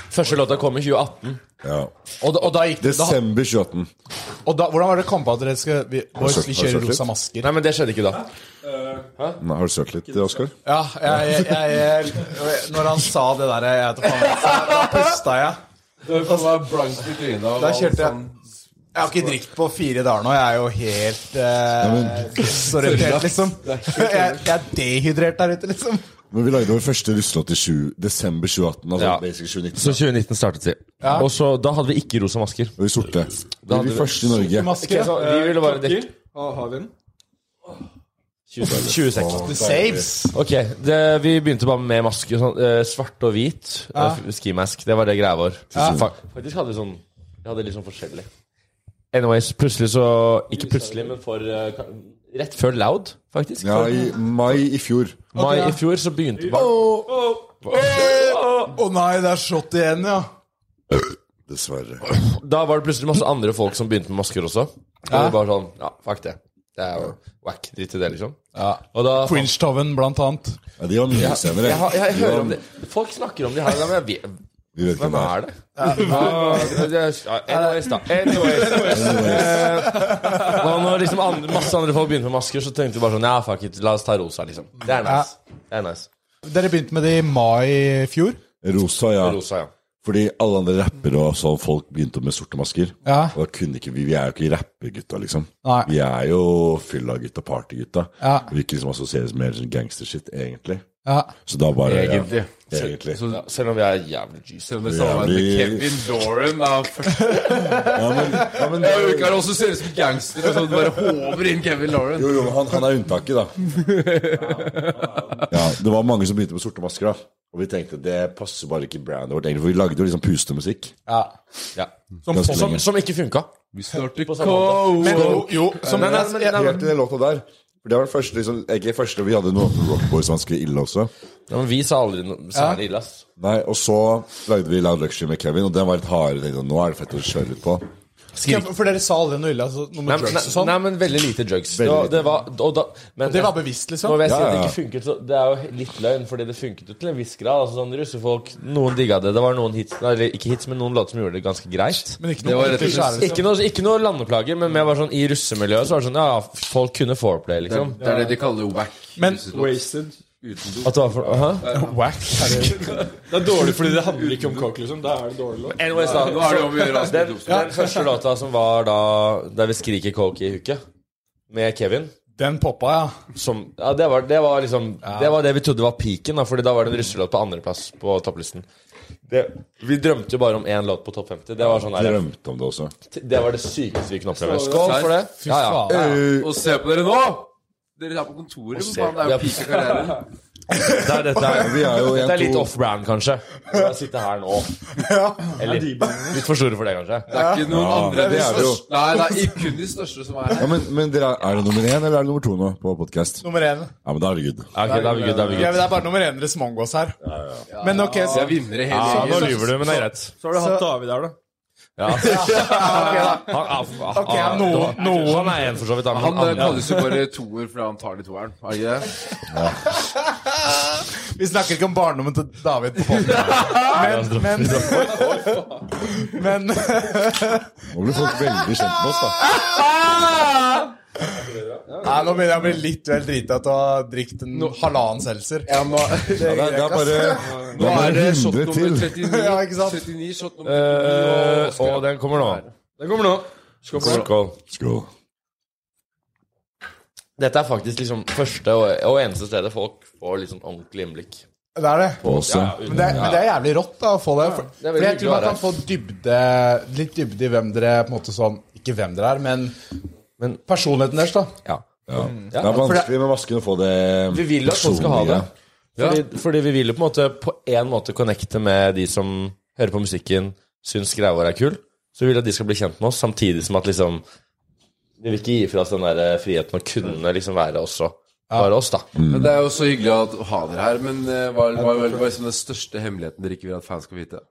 D: Første låta kom i 2018.
C: Ja.
A: Og, da- og da gikk det da,
C: Desember 2018.
A: og da, Hvordan var det kom på at dere skal vi, boys, vi
C: har du
A: kjører
C: søkt
A: rosa
C: litt?
A: masker?
D: Nei, men det skjedde ikke da.
C: Nei, har du søkt litt, Oskar?
A: Ja, jeg, jeg, jeg, Når han sa det der, jeg vet ikke faen, så da pusta jeg. Da kjørte jeg. Jeg har ikke drikt på fire dager nå. Jeg er jo helt eh, desorientert, liksom. Jeg, jeg er dehydrert der ute, liksom.
C: Men vi lagde vår første russelåt i 7, desember 2018. Altså
D: Ja.
C: basic 2019.
D: Så 2019 startet vi. Og så, Da hadde vi ikke rosa masker.
C: Og vi sorte. Vi
D: hadde
C: er de
D: vi-
C: første i Norge.
A: Maske.
D: Så vi ville bare dekke
F: Kill. Eh, Og har vi den?
D: 26.
A: The Eh, saves.
D: Ok, det, Vi begynte bare med masker. Sånn, eh, svart og hvit. eh, f- ski mask. Det var det greia vår. Fa- Faktisk hadde vi sånn Vi hadde litt sånn forskjellig. Anyways, plutselig så Ikke plutselig, men for eh, ka- Rett før Loud, faktisk.
C: Ja, i mai i fjor.
D: Mai i fjor så begynte bare
A: Å nei, det er shot igjen, ja.
C: Dessverre.
D: Da var det plutselig masse andre folk som begynte med masker også. Og det var bare sånn Ja, fuck det. Det er jo whack. Dritt i det, liksom. Og da
A: Fringe-toven, blant annet.
C: Ja, de var mye senere.
D: jeg, har- jeg
C: De
D: hører
C: var-
D: om det. Folk snakker om de her, men jeg vet
C: Vi vet ikke
D: Hvem er
C: det.
D: det? Ja, Anyways, da. Anyways. Eh, Og når liksom andre, masse andre folk begynte med masker, så tenkte vi bare sånn Ja, fuck it, la oss ta rosa, liksom. Det er nice. Det er nice.
A: Dere begynte med det i mai i fjor.
C: Rosa, ja.
D: Rosa, ja.
C: Fordi alle andre rappere og sånn folk begynte med sorte masker.
A: Ja.
C: Og da kunne ikke vi Vi er jo ikke rappegutta, liksom.
A: Ah. Nei.
C: Vi er jo fylla-gutta, partygutta.
A: Ja.
C: Vi vil ikke liksom assosieres med sånn gangstershit, egentlig.
A: Ja.
C: Så da bare ja,
B: Egentlig.
C: Egentlig.
B: Så,
D: Ja, Selv om vi er jævlig juicy.
B: selv om det samarbeidet med
C: Jævlig-
B: Kevin Doran er første
C: Ja, men, ja, men
B: Jeg vil ikke være også ser ut som gangster. og Så bare håver inn Kevin Lauren.
C: Jo, jo, men han, han er unntaket, da. Ja, det var mange som begynte med sorte masker, da. Og vi tenkte det passer bare ikke i brandet vårt, egentlig, for vi lagde jo liksom pustemusikk.
D: Ja.
C: Ganske
D: Som,
C: lenge.
D: som ikke funka.
B: Vi starter
D: På samme måte.
A: Men, jo, som,
C: Men jeg inspirerte den låta der. For det var den første, liksom, egentlig første vi hadde noe på Rockboys som var ganske ille også.
D: Ja, men vi sa aldri noe særlig ille, ass.
C: Nei, Og så lagde vi Loud Luxury med Kevin, og den var litt hardere. Tenkte, jeg, nå er det fett å kjøre litt på.
A: for dere sa aldri noe ille, altså, noe
D: Nei,
A: med drugs og
D: nei,
A: sånn.
D: nei, men veldig lite drugs. Det
C: Veldig
D: var,
C: lite.
D: det var, og da, men,
A: Det var bevisst, liksom.
D: Nå vil jeg si
C: Ja,
D: at det
C: ja.
D: ikke funket så Det er jo litt løgn, fordi det funket jo til en viss grad. Altså sånn Russefolk, noen digga det. Det var noen hits, nei, eller ikke hits, men noen låter som gjorde det ganske greit.
A: Men ikke
B: Det var
A: noe
B: rett og
A: ordentlig
B: slett-
A: kjærlighet.
D: Ikke noe, ikke noe landeplager, men mer bare sånn i russemiljøet så var det sånn Ja, folk kunne foreplay,
B: Det
D: liksom.
B: er det de kaller whack.
A: Men-
F: Wasted.
D: At det var for, aha.
F: Det er dårlig fordi det handler ikke om coke, liksom. Da er det dårlig låt.
D: Anyways, da.
B: Nå er det om å gjøre
D: Den,
B: Asbjørn Thomsen.
D: den første låta som var da Der vi skriker coke i huket, med Kevin
A: Den poppa, ja.
D: som, ja, det, var, det var liksom Det var det vi trodde var peaken, da, Fordi da var det en russelåt på andreplass på topplisten. Det, vi drømte jo bare om én låt på topp 50. Det var sånn der,
C: Drømte om det også.
D: Det var det sykeste vi kunne oppleve. Skål for det. Ja, ja.
A: Faen.
C: Eh,
B: Og se på dere nå! Dere er på kontoret. for faen, Det er jo peak i karrieren.
D: Det er, dette er,
C: Vi er jo
D: dette er litt
C: en, to
D: off-brand, kanskje. Å sitte her nå. Eller litt for store for det, kanskje.
B: Det er ikke noen andre.
C: det er det jo.
B: Nei, det er ikke kun de største som er
C: ja,
B: her.
C: men, men dere er, er det nummer én eller er det nummer to nå på podkast?
A: Nummer én.
C: Ja, men da er det good.
D: Ja, ok, da er vi good. Da er vi
A: Ja,
D: good.
A: men det er bare nummer én deres mongoes her. Men ok, så,
B: Jeg vinner i hele
D: Ja, nå
B: gjengen.
D: lyver du, men det er greit.
F: Så har du hatt David her, da.
D: Han, han, han,
A: Ok, ja, noen-
D: han er en, for så vidt. da, men
B: Han eh,
D: andre-
B: kalles jo bare toer fordi han tar de toeren. Er det ikke det?
A: Vi snakker ikke om barndommen til David på podden. Men, men, men
C: Nå blir folk veldig kjent med oss, da.
A: Nei, Nå begynner jeg å bli litt vel drita til å ha drukket en halvannen seltzer.
C: Ja, det, er- det er bare Nå er det
B: Shot
C: hundre
B: nummer
C: til.
B: 39,
A: Ja, ikke sant?
B: 39 shot nummer 39,
D: Eh,
B: og
D: og
B: Oscar.
D: den kommer nå. Den kommer nå. Skål.
C: Skål.
D: Dette er faktisk liksom første og, og eneste stedet folk får liksom ordentlig innblikk.
A: Det er det.
C: Også.
A: Men det, er- men det er jævlig rått da, å få det. For,
D: er veldig
A: for jeg tror
D: hyggelig å
A: man kan få dybde, litt dybde i hvem dere på en måte sånn, Ikke hvem dere er, men,
D: Men-
A: personligheten deres. da
D: Ja.
C: Det er vanskelig med masken å få det
D: Vi vil at folk skal ha det.
C: personlige.
D: Fordi, fordi vi vil jo på en måte På en måte connecte med de som hører på musikken, syns greia vår er kul. Så vi vil at de skal bli kjent med oss, samtidig som at liksom Vi vil ikke gi fra oss den der eh, friheten å kunne liksom være også bare oss, da.
B: Men det er jo så hyggelig at- å ha dere her, men eh, hva, hva, hva, hva er liksom den største hemmeligheten dere ikke vil at fans skal vite?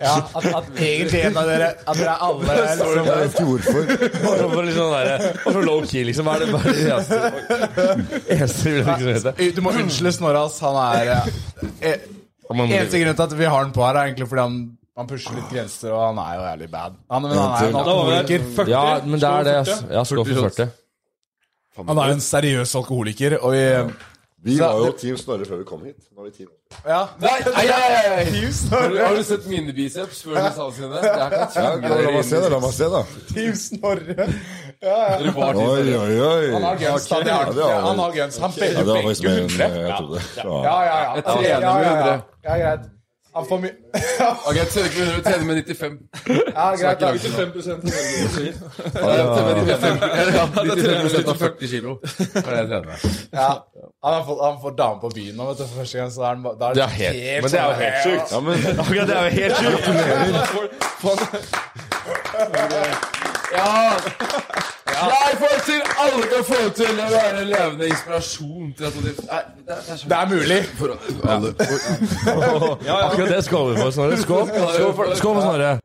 A: Ja, at, at egentlig en av dere At dere alle er liksom
C: Jeg vet ikke hvorfor.
D: Bare for litt sånn der, eh, og for low key, liksom. Hva er det, hva er det eneste, eneste vi vil at de skal vite?
A: Du må unnskylde Snorras. Han er eh,
D: Og man-
A: Eneste grunn til at vi har han på her, er egentlig fordi han, han pusher litt grenser, og han er jo jævlig bad. Han, men han er jo en
F: Da var vi
A: alkoholiker.
F: der. 40.
D: Ja, men det er det. ass. Ja, skål for 40.
A: Han er jo en seriøs alkoholiker, og vi
C: Vi
A: Så-
C: var jo Team Snorre før vi kom hit. Nå er vi Team
A: Ja.
B: Nei, nei, nei, nei, nei.
A: Team
B: Har, du,
A: Snorre!
B: har du sett mine biceps før de sa sine? Det er ikke
C: ja,
B: sant.
C: La meg se, da. La meg se, da.
A: Team Snorre.
B: Dere var til-
C: Oi, oi, oi.
A: Han har guns. Han,
C: Ja, det var-
A: han har guns. Han
C: Ja,
A: begge
C: det var faktisk mer enn eh, jeg trodde.
A: Ja,
C: Ja.
A: ja, ja.
B: Jeg trener
A: ja,
B: med
A: ja, ja.
B: 100.
A: Ja, greit. Han får mye
B: Ok, jeg trener ikke med 100, jeg trener med 95.
A: Ja, greit. da.
F: 95
B: Jeg trener med 95 Ja, 95 av 40 kilo. Det er det jeg trener med.
A: Ja. Han har fått, han får dame på byen nå, vet du, for første gang. Så er han, ba- da er sånn-
D: Det er helt- men det er jo helt
A: sjukt.
C: Ja, men
D: Akkurat det er jo helt sjukt!
B: Nei, folk sier alle kan få til å være en levende inspirasjon til at de Nei, det er- det er så
A: Det er mulig.
D: Akkurat det skåler vi for, Snorre. Skål. Skål for, skål for Snorre.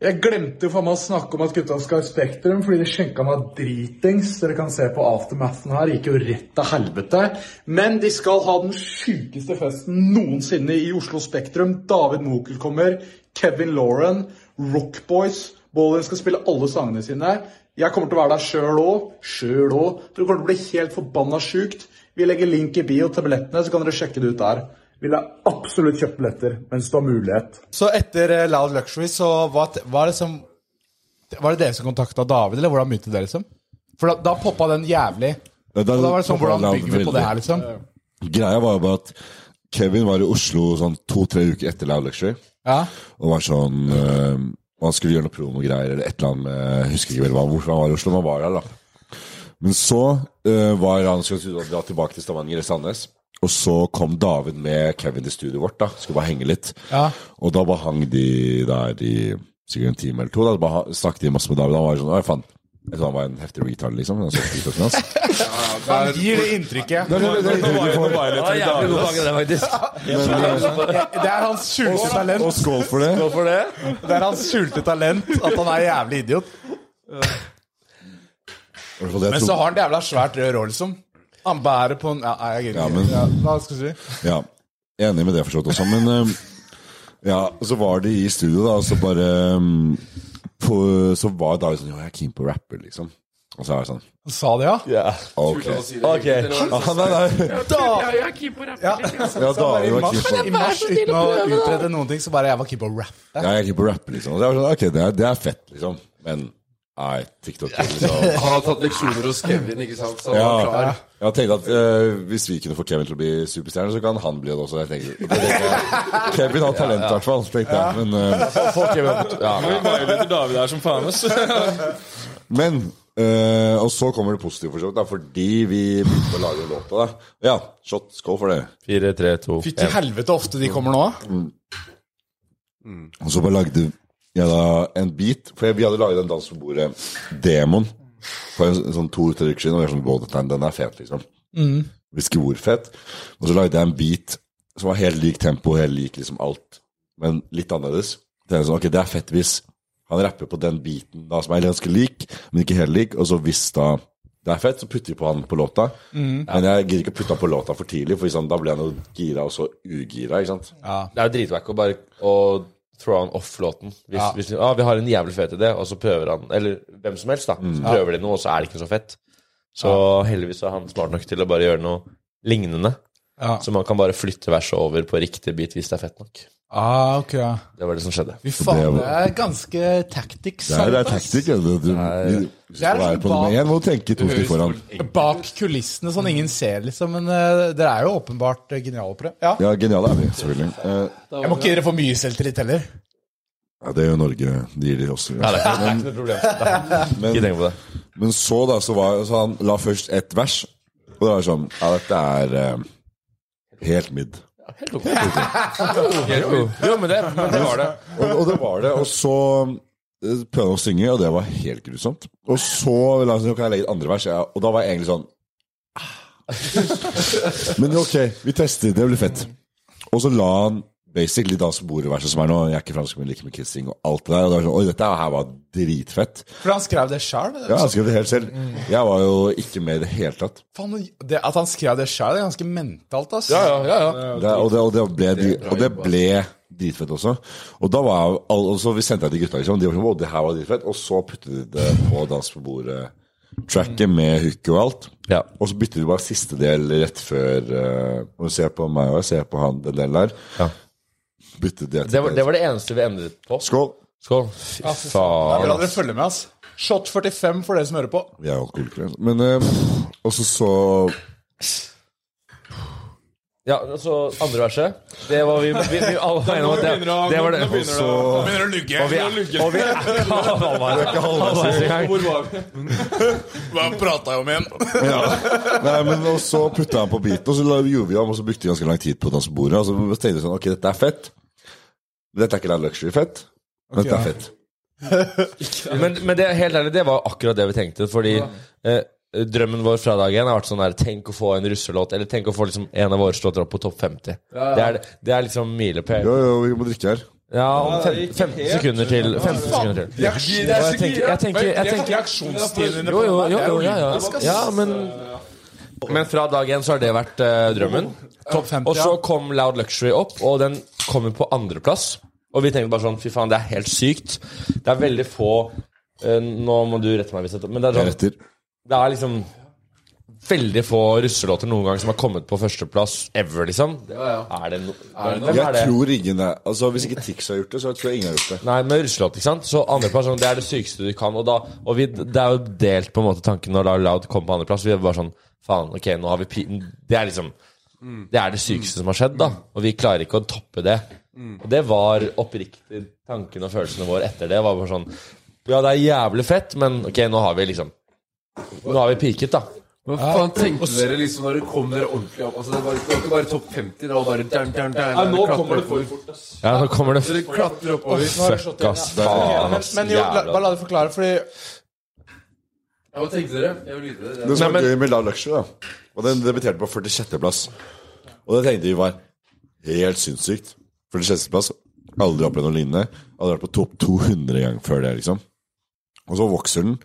A: Jeg glemte jo faen meg å snakke om at gutta skal ha Spektrum, fordi de skjenka meg dritings. Dere kan se på aftermathen her. Gikk jo rett til helvete. Men de skal ha den sjukeste festen noensinne i Oslo Spektrum. David Mokel kommer. Kevin Lauren. Rockboys. Bollen skal spille alle sangene sine. Jeg kommer til å være der sjøl òg. Sjøl òg. Dere kommer til å bli helt forbanna sjukt. Vi legger link i bio til billettene, så kan dere sjekke det ut der. Ville absolutt kjøpt billetter mens du har mulighet. Så etter eh, Loud Luxury, så var, t- var det som Var det dere som kontakta David, eller hvordan begynte dere, liksom? For da, da poppa den jævlig.
C: Ja, da
A: Og da var det sånn,
C: poppa
A: hvordan
C: den
A: bygger vi på
C: veldig.
A: det her, liksom?
C: greia var jo bare at Kevin var i Oslo sånn to-tre uker etter Loud Luxury.
A: Ja.
C: Og var sånn eh, Han skulle gjøre noe promogreier eller et eller annet. eh, Jeg husker ikke vel hva- hvorfor han var i Oslo, men han var der, da. Men så eh, var han skulle dra tilbake til Stavanger eller Sandnes. Og så kom David med Kevin til studioet vårt, da. Skulle bare henge litt.
A: Ja.
C: Og da bare hang de der i sikkert en time eller to. Da bare ha- snakket de masse med David. Han var sånn Å, faen. Jeg tror han var en heftig retard, liksom. Han så ikke ut som hans.
A: Han gir det inntrykket.
C: Nei, nei, nei, nei, du får-
D: Det var jævlig god tanke, det, faktisk.
A: Det er hans skjulte talent.
C: Og skål for det.
D: Hvorfor det?
A: Det er hans skjulte talent at han er jævlig idiot.
C: I hvert fall det jeg
A: Men
C: tror.
A: så har han det jævla svært rød roll, liksom. Han bærer på en Ja, nei, jeg
C: Ja,
A: gidder
C: men-
A: ikke. Ja, Hva skal du si?
C: Ja, enig med det for så vidt også. Men eh, ja, og så var de i studio, da, og så bare eh, på, Så var David sånn Jo, jeg er keen på rapper, liksom. Og så er jeg sånn
A: Han sa det, ja?
C: Ok.
D: Ok.
C: Ah, nei, nei. Ja, David var keen på
A: I mars, uten å utrede noen ting, så bare jeg var keen på å rappe.
C: Ja, jeg er keen på rapper, liksom. Og så jeg var sånn, ok, det er, det er fett, liksom. Men nei, TikTok liksom.
B: Han har tatt leksjoner hos Kevin, ikke sant? Så han
C: Ja,
B: var klar.
C: jeg tenkte at eh, hvis vi kunne få Kevin til å bli superstjerne, så kan han bli det også. Jeg tenkte, det tenkte jeg. Kevin har talent, i hvert fall. tenkte jeg. Men eh,
F: Vi veileder David her som faen, ass.
C: Men øh, Og så kommer det positive for så vidt, da, fordi vi begynte å lage låta. da. Ja, shot. Skål for det.
D: Fire, tre, to,
A: Fy til
D: én.
A: helvete ofte de kommer nå.
C: Og så bare lagde jeg da en beat, for vi hadde laget en dans på bordet, Demon, for en, sånn to-tre uker siden. Og jeg var sånn, wow, dette er- den er fet, liksom. Visste ikke hvor fett. Og så lagde jeg en beat som var helt lik tempo, helt lik liksom alt, men litt annerledes. Det er sånn, ok, det er fett hvis han rapper på den beaten da, som er ganske lik, men ikke helt lik. Og så hvis da det er fett, så putter vi på han på låta. Men jeg gidder ikke putte han på låta for tidlig, for hvis han, da blir han jo gira og så ugira, ikke sant.
D: Det er jo dritwack å bare å throw han off låten. Hvis, hvis ah, vi har en jævlig fet idé, og så prøver han Eller hvem som helst, da. Så prøver de noe, og så er det ikke så fett. Så heldigvis er han smart nok til å bare gjøre noe lignende.
A: Ja.
D: Så man kan bare flytte verset over på riktig bit hvis det er fett nok.
A: Ah, ok, ja.
D: Det var det som skjedde.
A: Fy faen,
C: Det
A: det er ganske tactics.
C: Det er, det er
A: sant, ass.
C: taktikk. Du, du, du, du, skal være på nummer én, må du tenke to skritt foran.
A: Bak kulissene, sånn ingen ser, liksom. Men eh, dere er jo åpenbart eh, geniale på det. Ja.
C: Ja, geniale er vi, selvfølgelig. Eh,
A: Jeg må ikke dere få mye selvtillit heller.
C: ja, det gjør Norge. De gir de oss.
D: Nei, det er ikke noe problem. Ikke tenk på det.
C: Men så da, så var så han la først ett vers, og det var sånn Ja, dette er eh, helt midd.
D: Jo, men det, men det var det.
C: Og, og det var det. Og så eh, prøvde han å synge, og det var helt grusomt. Og så ville han si ok, jeg legger et andre vers, ja. og da var jeg egentlig sånn ah. Men ok, vi tester, det blir fett. Og så la han basically dans på bordet-verset som er nå. Jeg er ikke franskmenn, liker med kissing og alt det der. Og det var sånn, oi, dette her var dritfett.
A: For han skrev det sjøl?
C: Ja, han skrev det helt selv. Jeg var jo ikke med i det hele tatt.
A: At han skrev det sjøl, er ganske mentalt, ass.
D: Ja, ja, ja.
C: Det, og, det, og, det ble, dri- og det ble dritfett også. Og da var jeg, al- og så vi sendte jeg til gutta, liksom. De var sånn, å, det her var dritfett. Og så puttet de det på dans på bordet-tracket med hooke og alt.
D: Ja.
C: Og så bytter de bare siste del rett før eh, Når du ser på meg og jeg ser på han, den delen der.
D: Ja.
C: Byttet det
D: Det var, det var det eneste vi endret på.
C: Skål!
D: Skål. Fy
A: Jeg vil
D: faen.
A: at dere følger med, ass. Shot 45 for dere som hører på.
C: Vi er jo alkoholikere. Men eh, Og så så
D: Ja, og så andre verset. Det var vi, vi, vi alle var enige om at det, det var det.
F: Nå begynner
C: så
F: begynner det å lugge.
D: Og vi er, og vi er ikke halvveis i gang.
F: Hvor var vi?
A: Hva prata jeg om igjen?
C: ja. Nei, men og så putta han på beaten, og så la- gjorde vi om, og så brukte vi ganske lang tid på dansebordet. Og så tenkte vi sånn Ok, dette er fett. Dette er ikke live luxury-fett. men Dette er fett.
D: Men, men det, helt ærlig, det var akkurat det vi tenkte. Fordi eh, drømmen vår fra dag én har vært sånn der Tenk å få en russelåt, eller tenk å få liksom, en av våre låter opp på topp 50. Det, er, det er liksom milepæl.
C: Jo, jo, vi må drikke her.
D: Ja, om fem, 15 sekunder til. 15 sekunder til.
A: Jeg
D: Og jeg tenker, jeg tenker, jeg tenker
A: Reaksjonstiden
D: Jo, jo, jo, jo ja, ja. ja men, men fra dag én så har det vært eh, drømmen.
A: Topp 50,
D: Og så kom Loud Luxury opp, og den kommer på andreplass. Og vi tenkte bare sånn Fy faen, det er helt sykt. Det er veldig få eh, Nå må du rette meg hvis jeg tar Men det er, sånn,
C: Deretter.
D: det er liksom veldig få russelåter noen gang som har kommet på førsteplass ever, liksom. Er det no, Hvem er
C: Jeg
D: det?
C: tror ingen er Altså, Hvis ikke Tix har gjort det, så tror jeg ingen har gjort det.
D: Nei, med russelåt, ikke sant? Så andreplass, sånn, det er det sykeste du kan. Og, da, og vi, det er jo delt på en måte tanken når da Loud kom på andreplass. Vi er bare sånn Faen, ok, nå har vi pi... Det er liksom Det er det sykeste som har skjedd, da. Og vi klarer ikke å toppe det. Og det var oppriktig tanken og følelsene våre etter det. Var bare sånn Ja, det er jævlig fett, men ok, nå har vi liksom Nå har vi peaket, da.
B: Hva faen tenkte dere liksom når dere kom dere ordentlig opp? Altså, det var ikke, det var ikke bare topp 50, det var bare dern, dern, dern,
F: Nei, nå
B: klatre
F: kommer det
B: oppover.
F: for fort, ass.
D: Ja, nå kommer det
B: Dere klatrer oppover.
D: Fuck, ass. Faen,
A: Men,
D: ass.
A: men jo, la,
D: Jævla.
A: bare la det forklare, fordi
B: Ja, hva tenkte dere? Jeg vil vite det.
C: Det som
D: Nei,
C: var
D: men-
C: gøy med La Luxury, da Og den debuterte på 46. plass. Og det tenkte vi var helt sinnssykt. 46. plass, aldri opplevd noe lignende. Aldri vært på topp 200 gang før det, liksom. Og så vokser den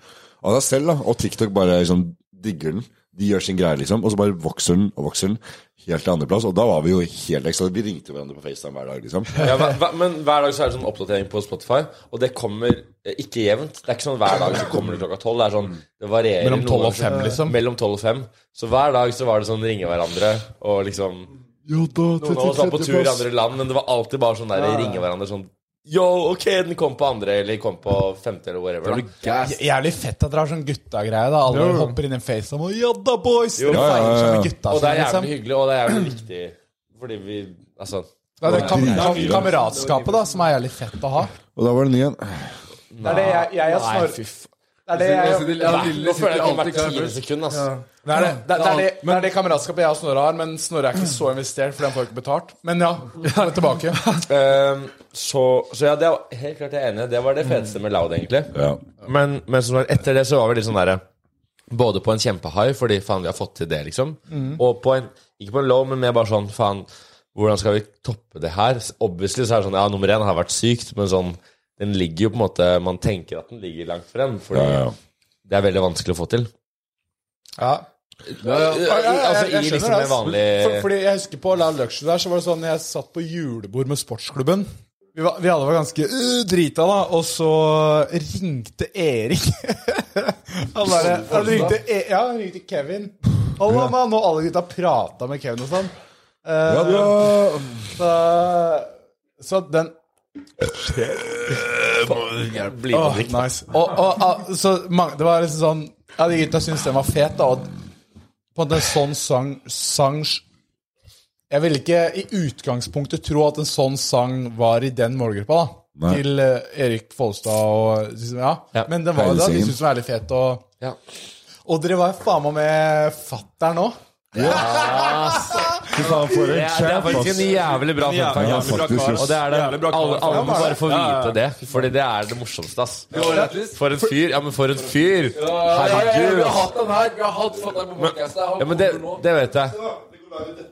C: av seg selv, da. Og TikTok bare liksom digger den. De gjør sin greie, liksom. Og så bare vokser den og vokser den helt til andreplass. Og da var vi jo helt ekstra. Vi ringte hverandre på FaceTime hver dag, liksom.
D: ja, hver, hver, men hver dag så er det sånn oppdatering på Spotify, og det kommer eh, ikke jevnt. Det er ikke sånn hver dag så kommer det klokka tolv. Det er sånn, det varierer
A: Mellom 12 og
D: noen ganger.
A: 5, liksom.
D: Mellom 12 og 5. Så hver dag så var det sånn ringe hverandre og liksom
C: Jo, da,
D: Noen av oss var sånn på tur i andre land, men det var alltid bare sånn der ringe hverandre sånn Yo, ok, den kom på andre, eller kom på femte, eller whatever. Da.
B: Gass.
A: Jævlig fett at dere har sånn gutta-greie. da Alle hopper inn i FaceTime og 'ja da, boys'! Dere
D: Jo.
A: feirer seg med gutta
D: Og det er
A: sine, liksom.
D: jævlig hyggelig, og det er jævlig viktig fordi vi Altså
A: Det er det kam kam kameratskapet da som er jævlig fett å ha.
C: Og da var det ny en.
A: Det er det jeg, jeg, jeg snar... Det er det
B: Ja,
A: jeg
B: altså, de- ja,
D: Nei,
B: lille
D: Nå føler
B: sitter
D: jeg at det
B: alltid
D: hvert
B: klar.
D: tiende sekund, ass.
A: det er det, det, er det, det, er det kameratskapet jeg og Snorre har, men Snorre er ikke så investert fordi han får ikke betalt. Men ja, han er tilbake.
D: Ehm, så, så ja, det er helt klart jeg er enig. Det var det feteste med Loud, egentlig.
C: Ja.
D: Men, men som sagt, etter det så var vi litt sånn derre Både på en kjempehigh, fordi faen, vi har fått til det, liksom.
A: Mm.
D: Og på en Ikke på en low, men mer bare sånn faen, hvordan skal vi toppe det her? Obviously så er det sånn Ja, nummer én har vært sykt, men sånn Den ligger jo på en måte Man tenker at den ligger langt frem, fordi
C: Ja, ja.
D: det er veldig vanskelig å få til.
A: Ja.
D: altså, i liksom en vanlig-
A: For, fordi jeg husker på Loud Luxury der, så var det sånn jeg satt på julebord med sportsklubben. Vi, var, vi alle var ganske øh, drita, da, og så ringte Erik. han bare, han ringte, E- ja, han ringte Kevin. Halla, mann! Og alle gutta prata med Kevin og sånn. Eh,
C: Ja, da-
A: så, så den
C: Eh,
D: Bli med
A: Åh,
D: drikk.
A: nice. Og, og, ah, så mange, det var liksom sånn Ja, de gutta syntes den var fet, da. Og på en måte en sånn sang, sang Jeg ville ikke i utgangspunktet tro at en sånn sang var i den målgruppa, da.
C: Nei.
A: Til eh, Erik Folstad og liksom, ja.
D: Ja,
A: Men den var jo det. De
C: Heilesingen.
A: syntes den var veldig fet. Og
D: Ja.
A: Og dere var jo faen meg med fatter'n òg.
C: Fy faen, for en
D: Det er
C: champ,
D: faktisk
C: ass.
D: en jævlig bra fun fact.
C: Ja,
D: ass.
C: faktisk,
D: Og det
C: ass.
D: er det.
F: Jævlig bra kar.
D: Alle, alle må
F: Ja,
D: bare få
F: ja, ja.
D: vite det, Fordi det er det morsomste, ass.
B: Lættis.
D: For en fyr! Ja, men for en fyr!
B: Eh, Vi
D: Herregud!
B: har hatt han her. Vi har hatt fatter'n på podkasten.
D: Ja, men det, det vet jeg.
B: Akkurat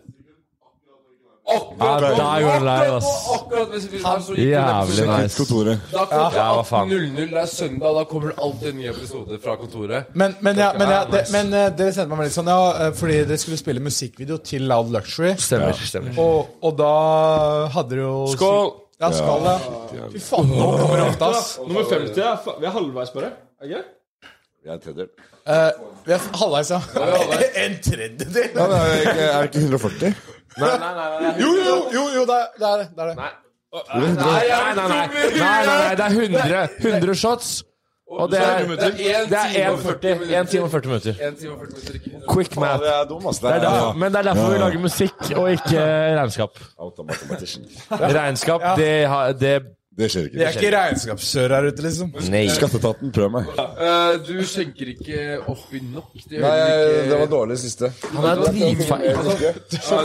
D: Ja,
B: nå,
D: der gjorde han live,
B: akkurat nå,
D: ass.
B: akkurat hvis vi er så
D: Jævlig
C: Sjekk ut
D: nice.
C: kontoret.
B: Da kommer
D: Ja, hva faen.
B: 18.00, det er søndag, da kommer det alltid en ny episode fra kontoret.
A: Men, men, ja, men, ja, det, men eh, dere sendte meg melding sånn, ja, eh, fordi dere skulle spille musikkvideo til Loud Luxury.
D: Stemmer. stemmer
A: Og, og da hadde dere jo
D: Skål!
A: Ja, skål, ja. Fy faen, nå kommer alt, ass.
F: Nummer 50 er fa- Vi er halvveis bare. er ikke?
C: Jeg er tredjedel.
A: Eh, vi er halvveis, ja. En tredjedel?
C: Ja, men er det ikke- er det ikke 140?
A: Jo, jo, jo, jo, det er det. Er, det, er det.
D: Nei, nei, nei, nei, nei, nei, nei, det er 100, 100 shots. Og det er
B: Det er
D: det
B: 1
D: er 1,40 1 time og 40 minutter.
B: 1 time og 40 minutter.
D: Quick math.
C: Det er dum, ass.
D: Det er der,
C: ja.
D: Men det er derfor vi lager musikk og ikke regnskap.
C: Out of mathematician.
D: Regnskap, det, har- det
C: Det skjer ikke.
A: det er ikke regnskapssør her ute, liksom.
D: Nei.
C: Skatteetaten, prøv meg.
B: Eh, Du skjenker ikke oppi nok. Det
C: Nei, det var
B: gjør du ikke.
C: dårlig siste.
D: Han er dritfeil. Altså,
B: Ja,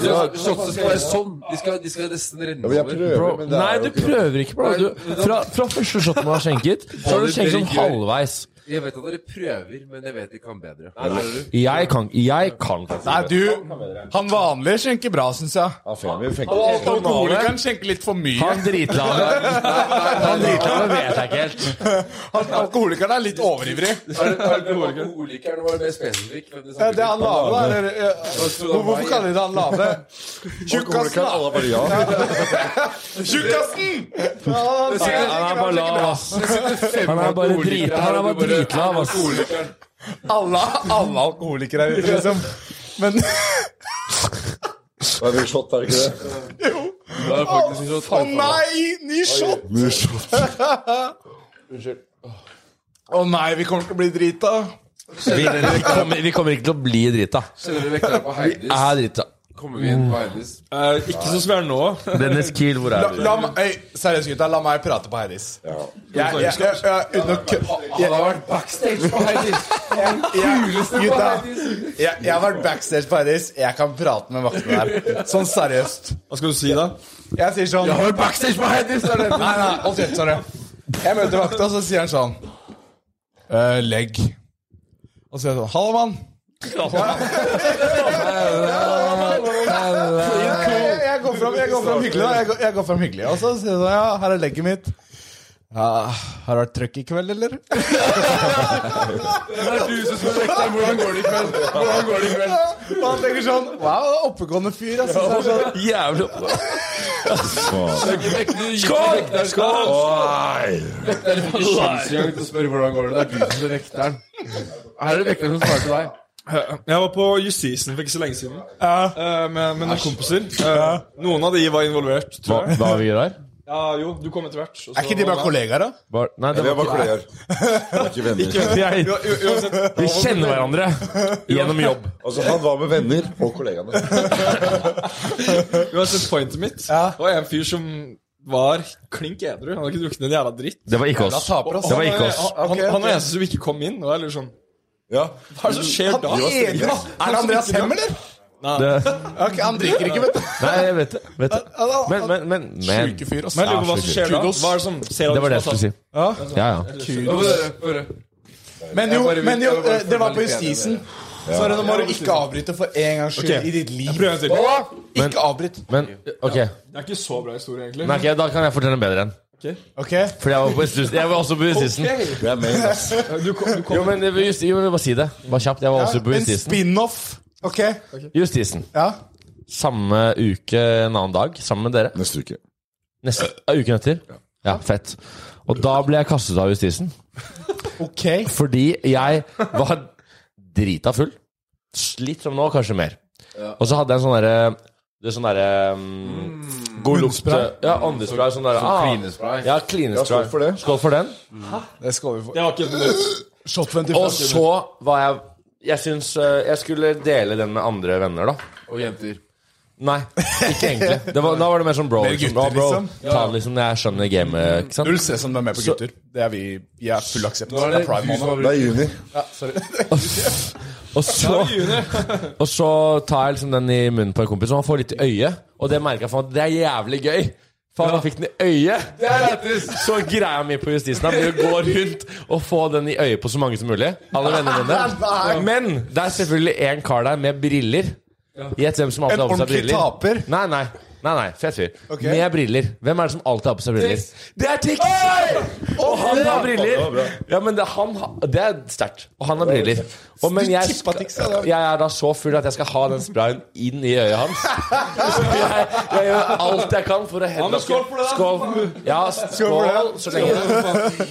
B: det var- Shotsene skal være sånn. De skal, de skal nesten renne
C: Jeg
B: over.
C: prøver, men det er
D: Nei,
C: jo
D: du
C: ikke noe.
D: prøver ikke, bro. Du, fra, fra første shoten du har skjenket, så har du skjenket sånn halvveis.
B: Jeg vet at dere prøver, men jeg vet de kan bedre.
D: Jeg kan Jeg Sånn kan
A: Nei, du, han vanlige skjenker bra, syns jeg.
C: Ja, faen, vi fikk-
A: Og alkoholikeren skjenker litt for mye.
D: Han dritlave Han dritlave vet jeg ikke helt.
A: Han, alkoholikeren er litt overivrig.
B: Alkoholikeren var mer spesifikk. men
A: Ja, Eh, det er han lave, da. eller, eh,
B: Hvor-
A: Hvorfor kaller de det han lave?
C: Alkoholikeren,
A: Tjukkasen,
C: alle bare ja.
A: da! Tjukkasen! Ja, han-
D: Han er bare lav, ass. Han er bare drit, han er bare dritlav, ass.
A: Alle, alle alkoholikere er ute, liksom. Men
C: Det er en shot, er det ikke det?
A: Å nei! Ny shot!
C: Ny shot.
A: Å nei, vi kommer til å bli drita.
D: Vi, vi, kommer, vi kommer ikke til å bli drita.
B: Kjenner dere vekkere på
D: Jeg
B: Heidis?
D: er drita.
B: Kommer vi inn på Heidis?
F: Eh, ikke sånn som vi er nå.
D: Dennis Kiel, hvor
A: La,
D: er du?
A: la, meg- øy, seriøst, gutta. La meg prate på Heidis.
C: Ja.
A: Jeg, jeg, jeg, jeg, uten å kø- jeg,
B: Han har vært backstage på Heidis!
A: jeg, gutta, jeg, jeg har vært backstage på Heidis. Jeg kan prate med vaktene der. Sånn seriøst.
F: Hva skal du si da?
A: Jeg sier sånn Nei,
B: Backstage på Heidis! er det.
A: nei, hold kjeft, sorry. Jeg møter vakta, så sier han sånn «Eh, Legg. Og så sier jeg sånn Halla, mann. jeg, jeg går fram, jeg går fram hyggelig, da. Jeg går, jeg går fram hyggelig. Og så sier jeg sånn, ja, her er legget mitt. Ja, har det vært trøkk i kveld, eller?
B: Det er du som skal sjekke deg. Hvordan går det i kveld? Hvordan går det i kveld?
A: Og han tenker sånn, wow, oppegående fyr, ass. Så er det sånn,
D: Jævlig
B: Skål!
D: Skål!
C: Oi!
B: Sjansegang til å spørre hvordan går det. Det er du som er vekteren. Her er det vekteren som svarer til deg.
F: Jeg var på Justisen for ikke så lenge siden Eh, med, med noen kompiser. Eh, Noen av de var involvert, tror jeg.
D: Hva vi gjør her?
F: Ja, jo, du kom etter hvert. og så-
A: er ikke de bare kollegaer, da?
D: Bare, nei, det
C: Vi er
D: var
C: bare kolleger. Ikke venner.
D: ikke
F: U- Uansett,
D: Vi kjenner hverandre gjennom jobb.
C: Altså, han var med venner og kollegaene.
F: uansett pointet mitt Det var en fyr som var klink edru. Han hadde ikke drukket en jævla dritt.
D: Det var ikke oss.
A: Taper, ass.
D: Det var ikke oss.
F: Han, han, han var eneste som ikke kom inn. Og jeg lurer sånn
C: Ja.
F: Hva er det som skjer da?
A: Egen, da. Er det Andreas Hem, eller?
D: Det,
A: Ok, han drikker ikke, vet du.
D: nei, jeg vet det. Vet det. Men, men, men, men
A: Syke fyr, ass.
F: Men jeg lurer på hva som skjer da.
D: Det
F: Hva er det som ser at
D: var det
F: du
D: jeg skulle si. Ja, ja.
A: Men jo,
B: bare vil-
A: men jo,
B: jeg bare
A: eh, det var på
B: formalitere det.
A: justisen. Så nå må du ikke avbryte for en gangs skyld
F: Ok.
A: i ditt liv.
F: Prøv en til.
A: Ikke avbryt.
D: Men ok,
F: Det er ikke så bra historie, egentlig.
D: Nei, ok, da kan jeg fortelle en bedre en.
A: Ok?
D: For jeg var, på justissen. jeg var også på justisen.
C: Det er main, ass.
F: Du kom, du kom.
D: Jo, men det var justi- jo, men bare si det. Bare kjapt. Jeg var også på
A: En
D: justisen.
A: spin-off. Ok?
D: Justisen.
A: Ja.
D: Samme uke en annen dag, sammen med dere.
C: Neste uke.
D: Neste
C: Eh,
D: ja, uken etter. Ja, fett. Og da ble jeg kastet av justisen.
A: Ok.
D: Fordi jeg var drita full. Litt som nå, kanskje mer. Og så hadde jeg en sånn derre det er sånn derre um,
C: Mm.
D: God lukt Ja, åndespray. Sånn derre ah,
B: Klinespray.
D: Ja, klinespray.
C: Ja, skål for det.
D: Skål for den.
A: Det skal vi få.
F: Det var ikke et minutt.
A: Shot
D: Og
A: 25.
D: så var jeg Jeg syns eh, jeg skulle dele den med andre venner, da.
B: Og jenter.
D: Nei, ikke egentlig. Det var, da var det mer sånn bro.
A: Mer
D: Liksom.
A: gutter,
D: Å, bro
A: liksom.
D: Ta det liksom, jeg skjønner gamet. Ikke sant?
A: Null stress om du er med på gutter. Det er vi, vi er full aksept. Det er prime måned.
C: Det er juni.
D: Og så, og så tar jeg liksom den i munnen på en kompis, og han får litt i øyet. Og det merka jeg faen, det er jævlig gøy. Faen, han fikk den i øyet! Så greia mi på justisen her blir å gå rundt og få den i øyet på så mange som mulig. Alle vennene mine. Men det er selvfølgelig en kar der med briller. Gjett hvem som alltid
A: En
D: har på seg
A: ordentlig
D: briller.
A: taper.
D: Nei, nei. Nei, nei, Fett fyr.
A: Ok.
D: Med briller. Hvem er det som alltid har på seg briller? Det er Tix! Og han har
C: Det var bra.
D: briller! Ja, men det, han, har- det er sterkt. Og han har briller. Og, men jeg,
A: tippa Tix, ja, da.
D: jeg er da så full at jeg skal ha den sprayen inn i øyet hans. Så jeg, jeg gjør alt jeg kan for å
F: Ja,
D: helle
F: men skål for det, da.
D: Skål. Ja, skål så lenge.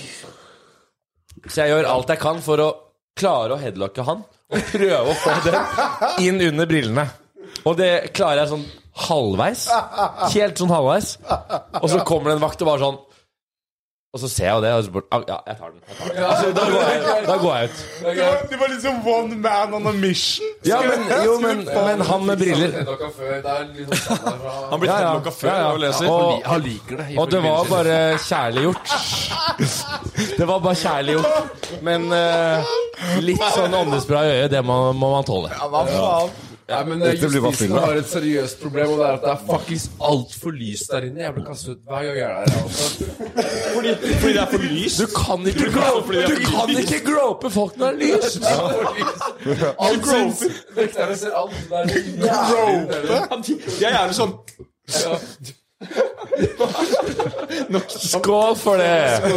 D: Så jeg gjør alt jeg kan for å klare å headlocke han. Og prøve å få den inn under brillene. Og det klarer jeg sånn halvveis. Helt sånn halvveis. Og så kommer det en vakt og bare sånn Og så ser jeg jo det, og så bare «Ah, Ja, jeg tar den. Jeg tar den. Altså, da, går jeg, da går jeg ut.
A: Det var liksom one man on a mission.
D: Ja, men, jo, men, men han med briller
F: Han blir
D: Ja, ja.
F: headlocka før
D: Ja, ja.
F: og leser.
D: Og-
B: liksom Han liker det.
D: Og det var bare kjærlig gjort. Det var bare kjærlig gjort. Men eh, litt sånn åndespray i øyet, det må, må man tåle.
B: Nei, men eh,
C: Dette blir
B: Justisen
C: vaffel, da.
B: har et seriøst problem, og det er at det er fuckings altfor lyst der inne. Jeg blir kastet ut hver gang jeg er altså. der. jeg også.
F: Fordi, fordi det er for lyst.
D: Du kan ikke grope, du kan ikke grope folk når det er lys!
B: Alt syns. Vekterne ser alt. Det er jævlig irriterende.
F: Jeg er gjerne sånn
D: Skål for det!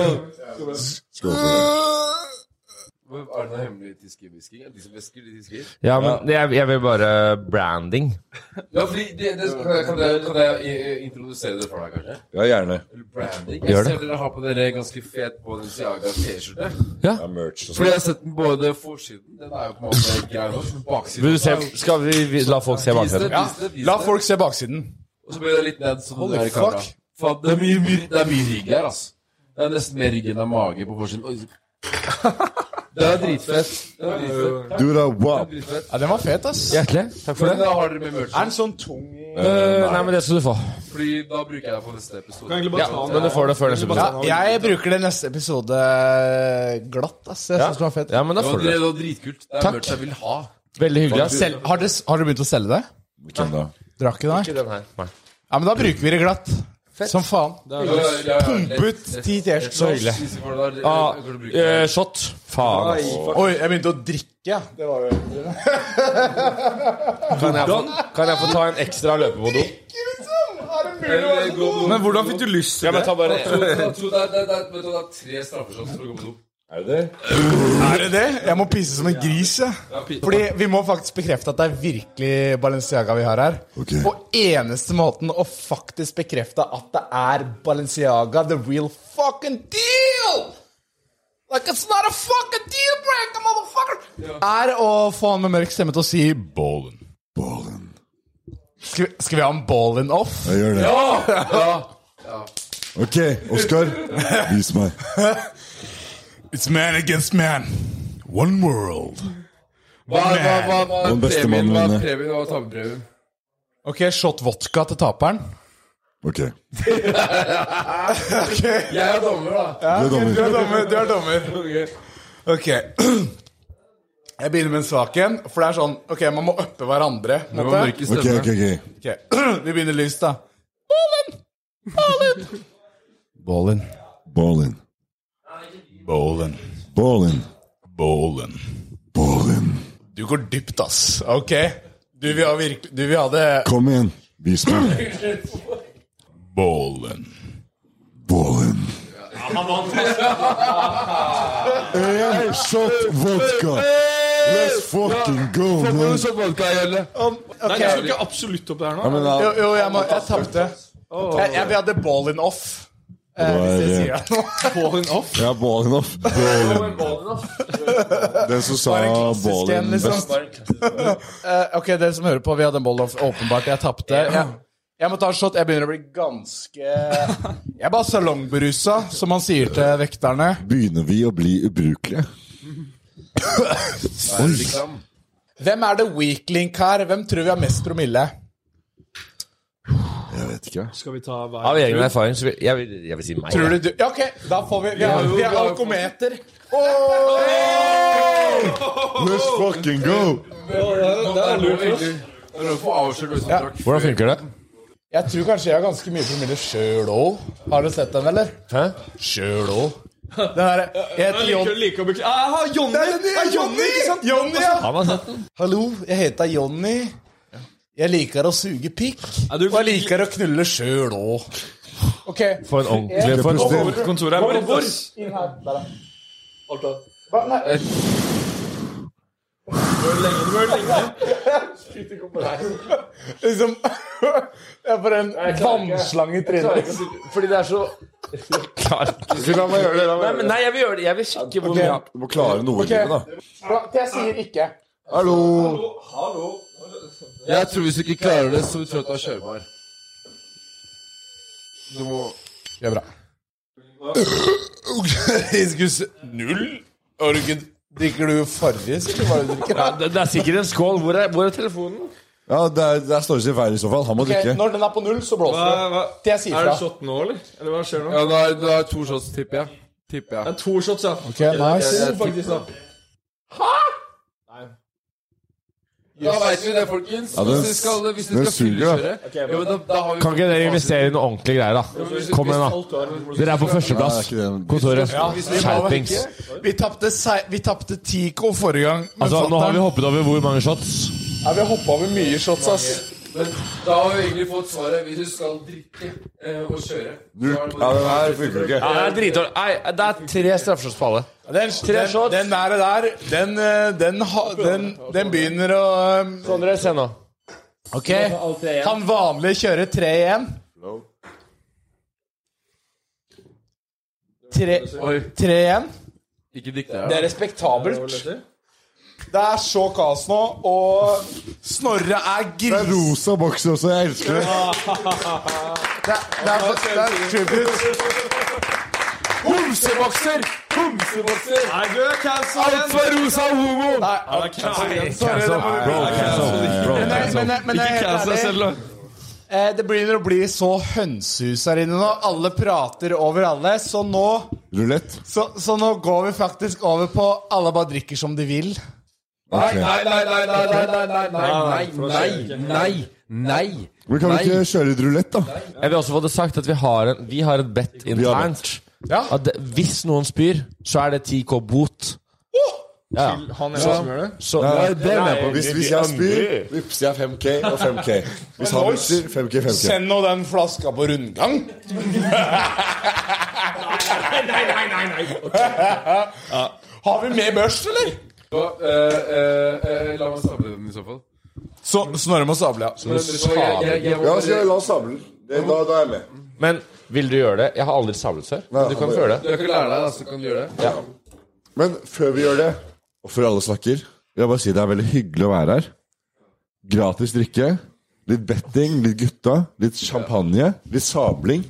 B: Er det noe hemmelig tiskevisking? Er det de som hvisker, de tisker?
D: Ja, men jeg, jeg vil bare branding.
B: Ja, fordi det, det, kan, jeg, kan, jeg, kan jeg eh, introdusere det for deg, kanskje?
C: Ja, gjerne.
B: Eller branding?
D: Gjør
B: Jeg
D: det.
B: ser dere har på dere ganske fet Balenciaga T-skjorte.
C: Det er merch
B: Fordi
C: og sånn.
B: jeg har sett den både forsiden Den er jo på en måte grei nok. men Baksiden
D: Vil du se, skal vi, vi la folk se
B: Vis det,
D: baksiden?
B: vis det, vis
A: La
B: det.
A: folk se baksiden.
B: Og så blir det litt ned sånn
A: Holy
B: der i kamera.
A: fuck.
B: Faen, det er mye, mye, det er mye rygg her, altså. Det er nesten mer rygg enn det er mage på forsiden. Oi. Det er dritfett. Det er dritfett.
C: Do the wop.
B: dritfett.
A: Ja, den var fet, ass.
D: Hjertelig. Takk for
B: Men
D: det.
B: da har dere med merch,
A: Er den sånn tung
D: Eh, nei, men det skal du få.
B: Fordi da bruker jeg det på neste episode.
F: egentlig
D: Ja,
F: bare ta den.
D: men du får det før neste
A: ja,
D: episode.
A: Jeg bruker det neste episode eh, glatt, ass. Jeg synes det var fett.
D: Ja, men da
B: Det
D: får
B: var,
D: du
B: det
D: det.
B: var dritkult. Det er
D: Takk.
B: merch jeg vil ha.
D: Veldig hyggelig. ass.
A: Selv, har, dere, har dere begynt å selge det?
C: Hvem da?
A: Dere har ikke det?
D: Ikke den her. Nei.
A: Ja, men da bruker vi det glatt. Som faen. Pumpe ut ti T-skjorter.
B: Så hyggelig.
D: Ja, eh, shot. Faen. ass.
A: Oi, jeg begynte å drikke. ja. Det var jo
D: Kan jeg, få, kan jeg få ta en ekstra løpe på do?
F: Men hvordan fikk du lyst til
D: Ja, men ta bare
B: Det er tre straffeshots for å gå på do.
C: Er det det?
A: Er det det? Jeg må pisse som en gris, jeg. Fordi vi må faktisk bekrefte at det er virkelig Balenciaga vi har her.
C: Ok.
A: Og eneste måten å faktisk bekrefte at det er Balenciaga, the real fucking deal! Like it's not a fucking deal breaker, motherfucker! Er å få han med mørk stemme til å si Ballin.
C: Ballen.
A: Skal, vi- skal vi ha en ballin off?
C: Jeg gjør det. Ok, Oskar. Vis meg.
A: It's man against man. One world.
B: Hva, hva, hva, hva,
C: Den beste
B: premien,
C: mannen
B: hva,
D: eh.
C: vinner.
B: premien, hva, tapperpremien?
A: Ok, shot vodka til taperen.
C: Ok.
B: Jeg er dommer, da.
C: Du er
A: Du er
C: dommer.
A: dommer. Du er dommer. Ok. Jeg begynner med en svak en, for det er sånn Ok, man må uppe hverandre. på en
B: Det var
A: måte.
B: mørke
C: Ok,
B: stemmer.
C: ok, ok.
A: Ok, Vi begynner lyst, da. Ballin! Ballin! Ballin.
C: Ballen.
A: Ballin.
C: Ballen.
A: Ballin.
C: Ballen.
A: Du går dypt, ass. Ok. Du vil ha, virke, du vil ha det
C: Kom igjen. Vis meg.
A: Ballin.
C: Ballen. En shot vodka. Let's fucking go, man.
F: Nei, jeg skal ikke absolutt opp der nå.
A: Jo, jo, jeg, må- jeg tapte. Jeg, jeg vil ha det ballin off. Eh, hvis jeg sier det nå. Ballin off?
C: Ja, ballen off. Den som sa
A: Bare en klassisk en,
C: ballen
A: liksom.
C: best.
A: Eh, ok, dere som hører på, vi hadde en boll off. Åpenbart, jeg tapte. Jeg, jeg må ta en shot. Jeg begynner å bli ganske Jeg er bare salongberusa, som man sier til vekterne.
C: Begynner vi å bli ubrukelige? Oi.
A: Hvem er det weak link her? Hvem tror vi har mest promille?
C: vet ikke.
F: Skal vi ta hver
D: Av egen erfaring så vil jeg, vil, jeg vil si meg.
A: Tror du du Ja, ok, da får vi Vi har, vi har alkometer.
C: Let's fucking go!
D: Hvordan funker det?
A: Jeg tror kanskje jeg har ganske mye promille sjøl òg. Har du sett den, eller? Hæ? Sjøl òg. Den derre Jeg heter
F: Jeg
A: Jon...
F: liker, liker å bekre... Ah, Jonny!
A: Det er Jonny! Jonny, ja.
D: Han har sett den.
A: Hallo, jeg heter Jonny. Jeg liker å suge pikk.
F: Er du-
A: Og jeg liker å knulle sjøl òg. Ok.
D: For en ordentlig for en ordentlig-
F: Kontoret er vårt, ass.
A: Inn her. Der, da. Liksom Jeg er bare en vannslange i trynet.
B: Fordi det er så
C: La meg gjøre det. La meg gjøre
D: Nei, men
C: det.
D: nei, jeg vil gjøre det. Jeg vil sjekke hvor mye
C: Du må klare noe i livet, da.
A: Jeg sier ikke.
C: Hallo!
B: Jeg tror hvis du ikke klarer det, så tror jeg at du er kjørbar. Du må
A: Det er bra. Diskus null? Har du ikke Drikker du Farris, eller hva er det du drikker?
D: ja, det, det er sikkert en skål. Hvor er, hvor er telefonen?
C: Ja, der, der står det sin feil i så fall. Han må
A: Ok,
C: drikke.
A: Når den er på null, så blåser
F: Hva,
A: det. Jeg sier
F: hva, er
A: fra.
F: det shot nå, eller? Eller hva skjer nå?
B: Ja, da er, da er to shots, tipper jeg. Tipper
F: Det
B: jeg.
F: er to shots, ja.
A: Ok, nice.
F: To, faktisk, da.
B: Da veit vi det, folkens.
C: Ja, den-
B: hvis dere skal, hvis dere
C: den
B: skal
C: suger, da.
B: fyllekjøre jo, men da, da har vi
D: Kan ikke dere investere i noe ordentlig greier, da?
B: Hvis-
D: Kom igjen, da.
B: hvis alt er-
D: Dere er på
C: Nei,
D: førsteplass.
C: det er ikke det.
D: Kontoret. Skjerpings.
A: Vi tapte sei- Vi tapte 10K forrige gang. Men
D: Altså, nå har vi
A: fatter'n-
D: hoppet over hvor mange shots?
A: Ja, vi har hoppa over mye shots, ass.
B: Men da har vi egentlig fått svaret. Hvis du skal drikke eh, og kjøre
C: Du, ja, den her funker ikke.
D: Ja, det er dritdårlig. Nei, det er tre straffeshots på alle.
A: Den, den,
D: shots.
A: den der, der den, eh, den, ha- den, den begynner å eh,
D: Sondre, se nå.
A: Ok. Han vanlige kjører tre igjen. Tre,
B: Oi,
A: tre igjen.
B: ikke drikk deg.
A: Det er respektabelt. Det er så kaos nå, og Snorre er
C: Det er
A: gris...
C: rosa boks også. Jeg elsker det.
A: Det er, det er, det er tribute. Homsebokser! Homsebokser!
F: Nei, du er cancel igjen!
A: for rosa homo! Nei, sorry, det må du-
C: Bro, cancel. Bro,
A: Men jeg- men jeg- men jeg er helt
F: Cancel
A: ærlig.
F: deg selv, da.
A: Eh, Det begynner å bli så hønsehus her inne nå. Alle prater over alle. Så nå,
C: Rulett.
A: så, så nå går vi faktisk over på alle bare drikker som de vil.
C: Ok.
B: Nei, nei, nei, nei, nei, nei, nei, nei, nei, nei, nei,
C: Men kan vi
B: Nei.
C: ikke kjøre litt rulett, da?
D: Jeg vil også få det sagt at vi har, en, vi har et bet internt.
A: Ja.
D: At det, hvis noen spyr, så er det 10K bot. Ja.
F: Han er den som gjør det.
D: Så,
C: Nei, det er jeg på. Hvis, hvis jeg spyr, vippser jeg 5K og 5K. Hvis han vippser, 5K, 5K.
A: nå den flaska på rundgang. Har vi med børs, eller?
B: Og, eh, eh, eh, La meg samle den i så fall.
A: Så, Snorre må sable, ja.
B: Jeg- jeg- jeg må
C: Ja,
B: bare-
C: så la oss samle. Det, da, da er jeg med.
D: men vil du gjøre det? Jeg har aldri samlet før.
C: Nei,
D: Men du kan
C: han må
D: føle det.
B: Jeg kan lære deg, da, så kan du gjøre det.
C: Men før vi gjør det, og før alle snakker, vil jeg bare si det er veldig hyggelig å være her. Gratis drikke, litt betting, litt gutta, litt champagne, litt sabling.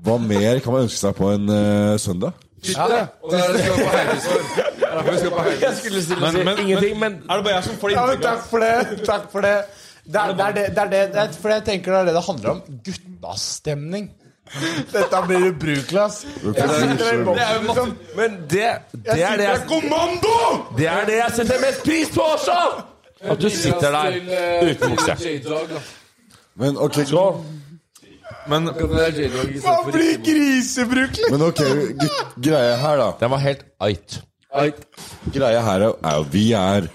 C: Hva mer kan man ønske seg på en eh, søndag?
B: Og det sånn er det du skal på Heidis for.
D: Jeg skulle si ingenting, men
F: Er det bare jeg som får det
A: ja men
F: inntrykk av?
A: takk for det. Takk for det. Det er det, er det, det, er det, det er, for jeg tenker det er det det handler om. Guttastemning. Dette blir ubrukelig, ass. Jeg sitter der i boksen, liksom.
D: Men det, det er det jeg
A: Kommando!
D: Det er det jeg setter mest pris på også! At du sitter der
B: Til, eh,
D: uten bukse.
B: til J-Dog, da.
C: Men ok,
F: Men
B: Kan det være J-Dog i stedet for
A: blir
B: Riksimo?
A: grisebrukelig!
C: men ok gutt, greia her, da.
D: Den var helt eit.
B: Nei,
C: Greia her er er jo vi er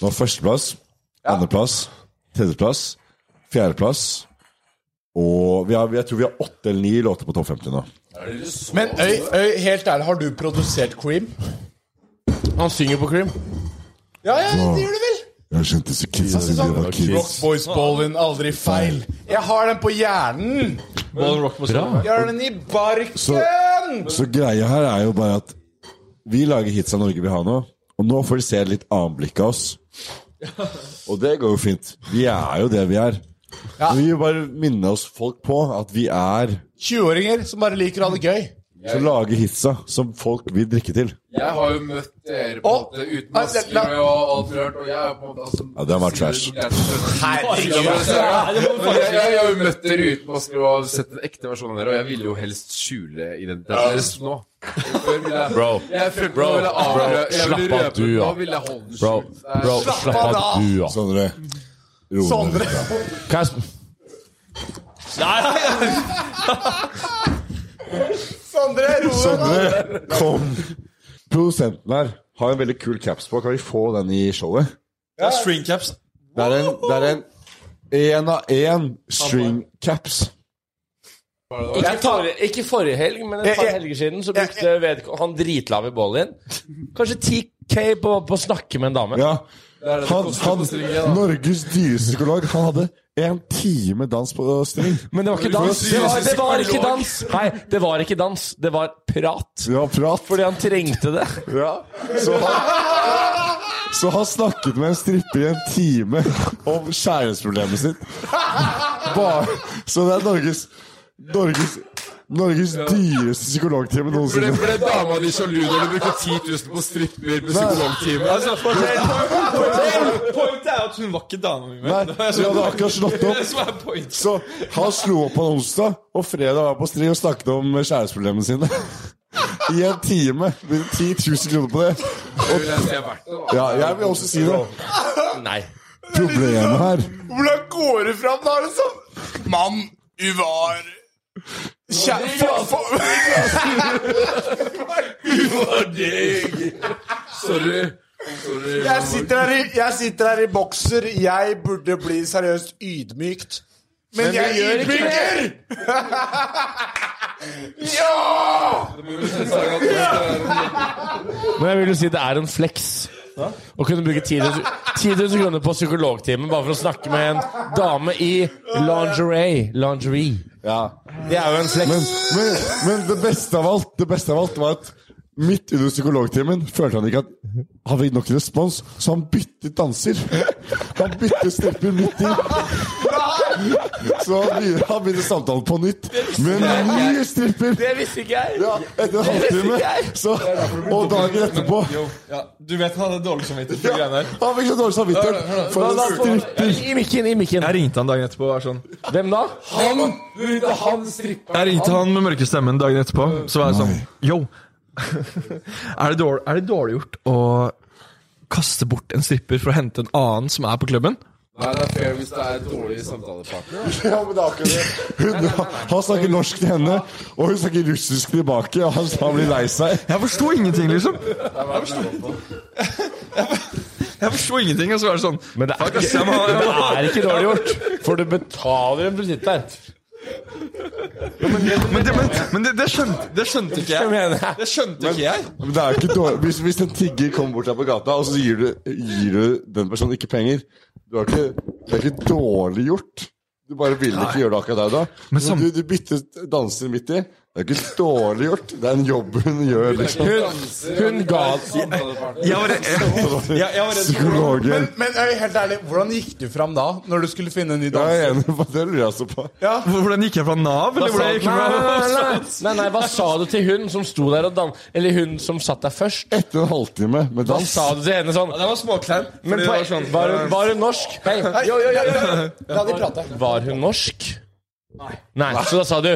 C: nå førsteplass, andreplass, tredjeplass, fjerdeplass. Og vi har, jeg tror vi har åtte eller ni låter på topp 50 nå.
A: Men øy, øy, helt ærlig, har du produsert Cream?
D: Han synger på Cream.
A: Ja, ja, det gjør du vel! Sånn.
C: Jeg skjønte så kidsa siden vi var kids.
A: Boys Ballin, aldri feil. Jeg har den på hjernen!
F: Ball Rock må stå.
A: Jeg har den i
C: Så-
A: barken!
C: Så greia her er jo bare at vi lager hits av Norge vi har nå. Og nå får de se litt annet blikk av oss. Og det går jo fint. Vi er jo det vi er. Men vi vil bare minne oss folk på at vi er
A: 20-åringer som bare liker å ha det gøy.
C: som lager hitsa som folk vil drikke til.
B: Jeg har jo møtt dere på en måte uten
H: Nei, det- la-
B: masker og alt rørt, og jeg er jo på en måte altså,
C: Ja, den var trash.
B: Men Jeg, jeg, har jo møtt dere uten masker og sett en ekte versjon av dere, og jeg ville jo helst skjule identiteten deres nå. Før ville jeg-
D: Bro,
B: Jeg følte
D: Bro,
B: meg ville avrø-
D: bro,
B: jeg ville
D: slapp av,
B: røpe-
D: du, ja.
B: Nå ville jeg holde den
D: bro,
B: skjult. Det er-
D: bro, slapp av du, ass.
C: Sondre. Ro ned.
D: Kan jeg sp-
C: Sondre, kom! Produsenten her har en veldig kul caps på. Kan vi få den i showet?
F: Det er stringcaps.
C: Det er en, det er en En av én string caps.
D: Ikke forrige, ikke forrige helg, men et par helger siden så brukte vedko- han dritlav i bollen. Kanskje 10K på, på å snakke med en dame.
C: Ja. Han, han, Norges dyreste psykolog, han hadde en time dans på øh, string.
D: Men det var ikke dans. Det var, det var ikke dans. Nei, det var ikke dans. Det var prat.
C: Ja, prat.
D: Fordi han trengte det.
C: Ja. Så han, så han snakket med en stripper i en time om kjærlighetsproblemet sitt. Bare, så det er Norges Norges, Norges dyreste psykologtime noensinne.
B: Ble dama di sjalu når du brukte 10 000 på stripper med psykologtime?
F: Altså, fortell, fortell. Pointet er at hun var ikke dama mi.
C: Nei,
F: men-
C: vi hadde akkurat slått
F: Det
C: opp.
F: som er pointet.
C: Så han slo opp på en onsdag, og fredag var han på string og snakket om kjærlighetsproblemene sine. I en time. Brukte 10 000 kroner på det.
B: Det ville jeg si er verdt det, da.
C: Ja, jeg vil også si det.
D: Nei.
C: Problemet her
I: Hvordan går det fram da, liksom? Mann, du var Kjære
B: Sorry. Sorry.
I: Jeg sitter, her i, jeg sitter her i bokser. Jeg burde bli seriøst ydmykt. Men, jeg ydmyker!
D: Men jeg vil jo si det er en flex. Å kunne bruke 10 000 10 000 kroner på psykologtimen bare for å snakke med en dame i lingerie. Lingerie.
C: Ja. Det er jo en fleks. Men, men, men det beste av alt Det beste av alt var at midt under psykologtimen følte han ikke at han fikk nok respons, så han byttet danser. Han byttet stripper midt i. Så han begynner, han begynner samtalen på nytt med en ny stripper.
D: Det visste ikke jeg.
C: Ja, etter en halvtime. Så, og dagen etterpå
F: Ja, du vet han hadde dårlig samvittighet for de greiene der.
C: Han fikk så dårlig samvittighet for en stripper.
D: I mikken, i mikken.
F: Jeg ringte han dagen etterpå og var sånn
D: Hvem da?
F: Jeg ringte han med mørke stemmen dagen etterpå. Så var jeg sånn Yo, er det dårlig, er det dårlig gjort å kaste bort en stripper for å hente en annen som er på klubben?
B: Nei, det er fair hvis det er en dårlig samtalepartner.
C: Ja, men det er akkurat det. Hun, han snakker norsk til henne, og hun snakker russisk tilbake, og han, han blir lei seg.
F: Jeg forsto ingenting, liksom. Jeg forsto Jeg forsto ingenting, og så var det sånn
D: Men det er, ikke, det er ikke dårlig gjort, for du betaler en visitt der.
F: Men det, men, men det, det, skjønte, det skjønte ikke
D: Hva
F: jeg.
D: mener jeg?
F: Det skjønte ikke jeg.
C: Men det er jo ikke dårlig Hvis, hvis en tigger kommer bort deg på gata, og så gir du, gir du den personen ikke penger du har ikke, Det er ikke dårlig gjort. Du bare ville ikke gjøre det akkurat der da. Men
F: sam-
C: du, du byttet danser midt i. Det er ikke dårlig gjort. Det er en jobb hun gjør. Liksom.
D: Hun ga
F: Jeg var, jeg, jeg, jeg var redd
C: Psykologen.
I: Men øy, helt ærlig, hvordan gikk du fram da? Når du skulle finne en ny
C: Jeg
I: dans?
C: er enig på det. lurer jeg også på.
F: Hvordan gikk jeg fra Nav? Eller hvordan gikk
D: Nei, nei,
F: jeg fra
D: nei, nei. nei, nei, hva sa du til hun som sto der og dan... Eller hun som satt der først?
C: Etter en halvtime med
D: Hva
C: dans
D: sa du til henne sånn?
F: Det var småklein.
D: Men
F: fordi
D: på,
F: det var sånn
D: var, hun, var hun norsk? Hei,
I: La de prate.
D: var hun norsk? Nei. Så da sa du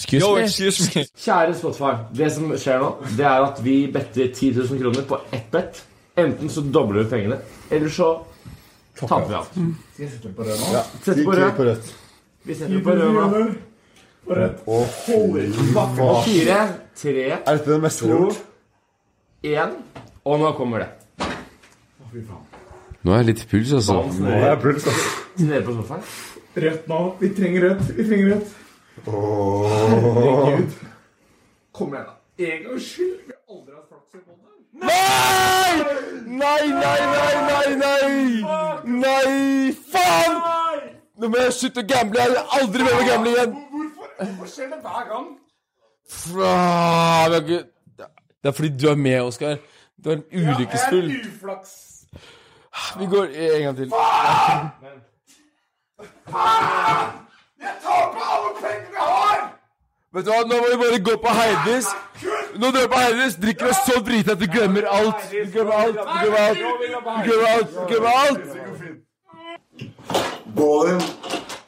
D: Excuse
F: Yo,
D: me.
F: excuse me.
J: Kjære Spotify, det som skjer nå, det er at vi better 10 000 kroner på ett bett. Enten så dobler vi pengene, eller så taper vi alt. Skal jeg sette på rød nå? Ja, sette på rød. Vi setter på rød nå. På fire, tre,
C: Er dette det meste vi har gjort?
J: én, og nå kommer det.
B: Nå er jeg litt i puls, altså.
J: Nede på sofaen.
K: Rødt nå. Vi trenger rødt. Vi trenger rødt.
J: Kom igjen, da.
K: En gangs skyld. Vi har aldri hatt flaks i båndet.
D: Nei, nei, nei, nei, nei! Nei, faen! Nå må jeg slutte å gamble. Jeg vil aldri mer å gamble igjen.
K: Hvorfor, hvorfor skjer det hver gang?
B: Ah, vi har ikke- Det er fordi du er med, Oskar. Du er en ulykkesfull.
K: Jeg er uflaks.
B: Vi går en gang til.
K: Jeg taper alle pengene jeg har!
B: Vet du hva, nå må vi bare gå på Heidis. Nå drar vi på Heidis, drikker oss så drita at du glemmer alt. Du glemmer alt, du glemmer alt. Du glemmer alt, du glemmer alt.
C: Bålen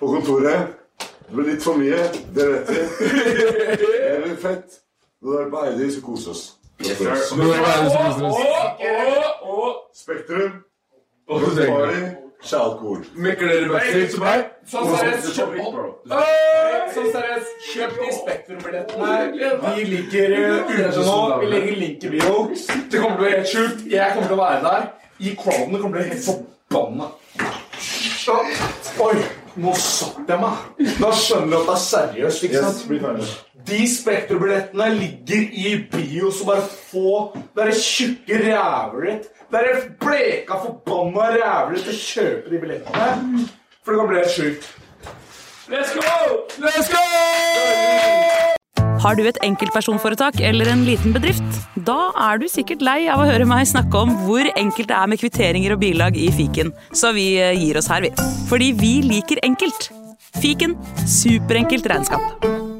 C: på kontoret. Det ble litt for mye, det vet vi. Det blir fett. Nå er det på Eidis og kose oss.
B: sir. Nå er det sånn på Eidis og kose
C: Spektrum. Og Spari. Ikke alkohol.
A: Mekker dere bøtter til meg? Sånn seriøst, kjøp Sånn seriøst, kjøp de Spektrum-billettene. Vi liker ute nå. Vi legger link i bio. Det kommer til å bli helt sjukt. Jeg kommer til å være der. I crowden kommer til å bli helt forbanna. Oi, nå satt jeg meg. Da skjønner du at det er seriøst, ikke sant? De Spektrum-billettene ligger i bio, så bare få Dere tjukke ræver ditt. Dere bleka, forbanna ræver ditt til å kjøpe de billettene. For det kan bli helt sjukt. Let's go! Let's go!
L: Har du et enkeltpersonforetak eller en liten bedrift? Da er du sikkert lei av å høre meg snakke om hvor enkelt det er med kvitteringer og bilag i fiken, så vi eh, gir oss her, vi. Fordi vi liker enkelt. Fiken superenkelt regnskap.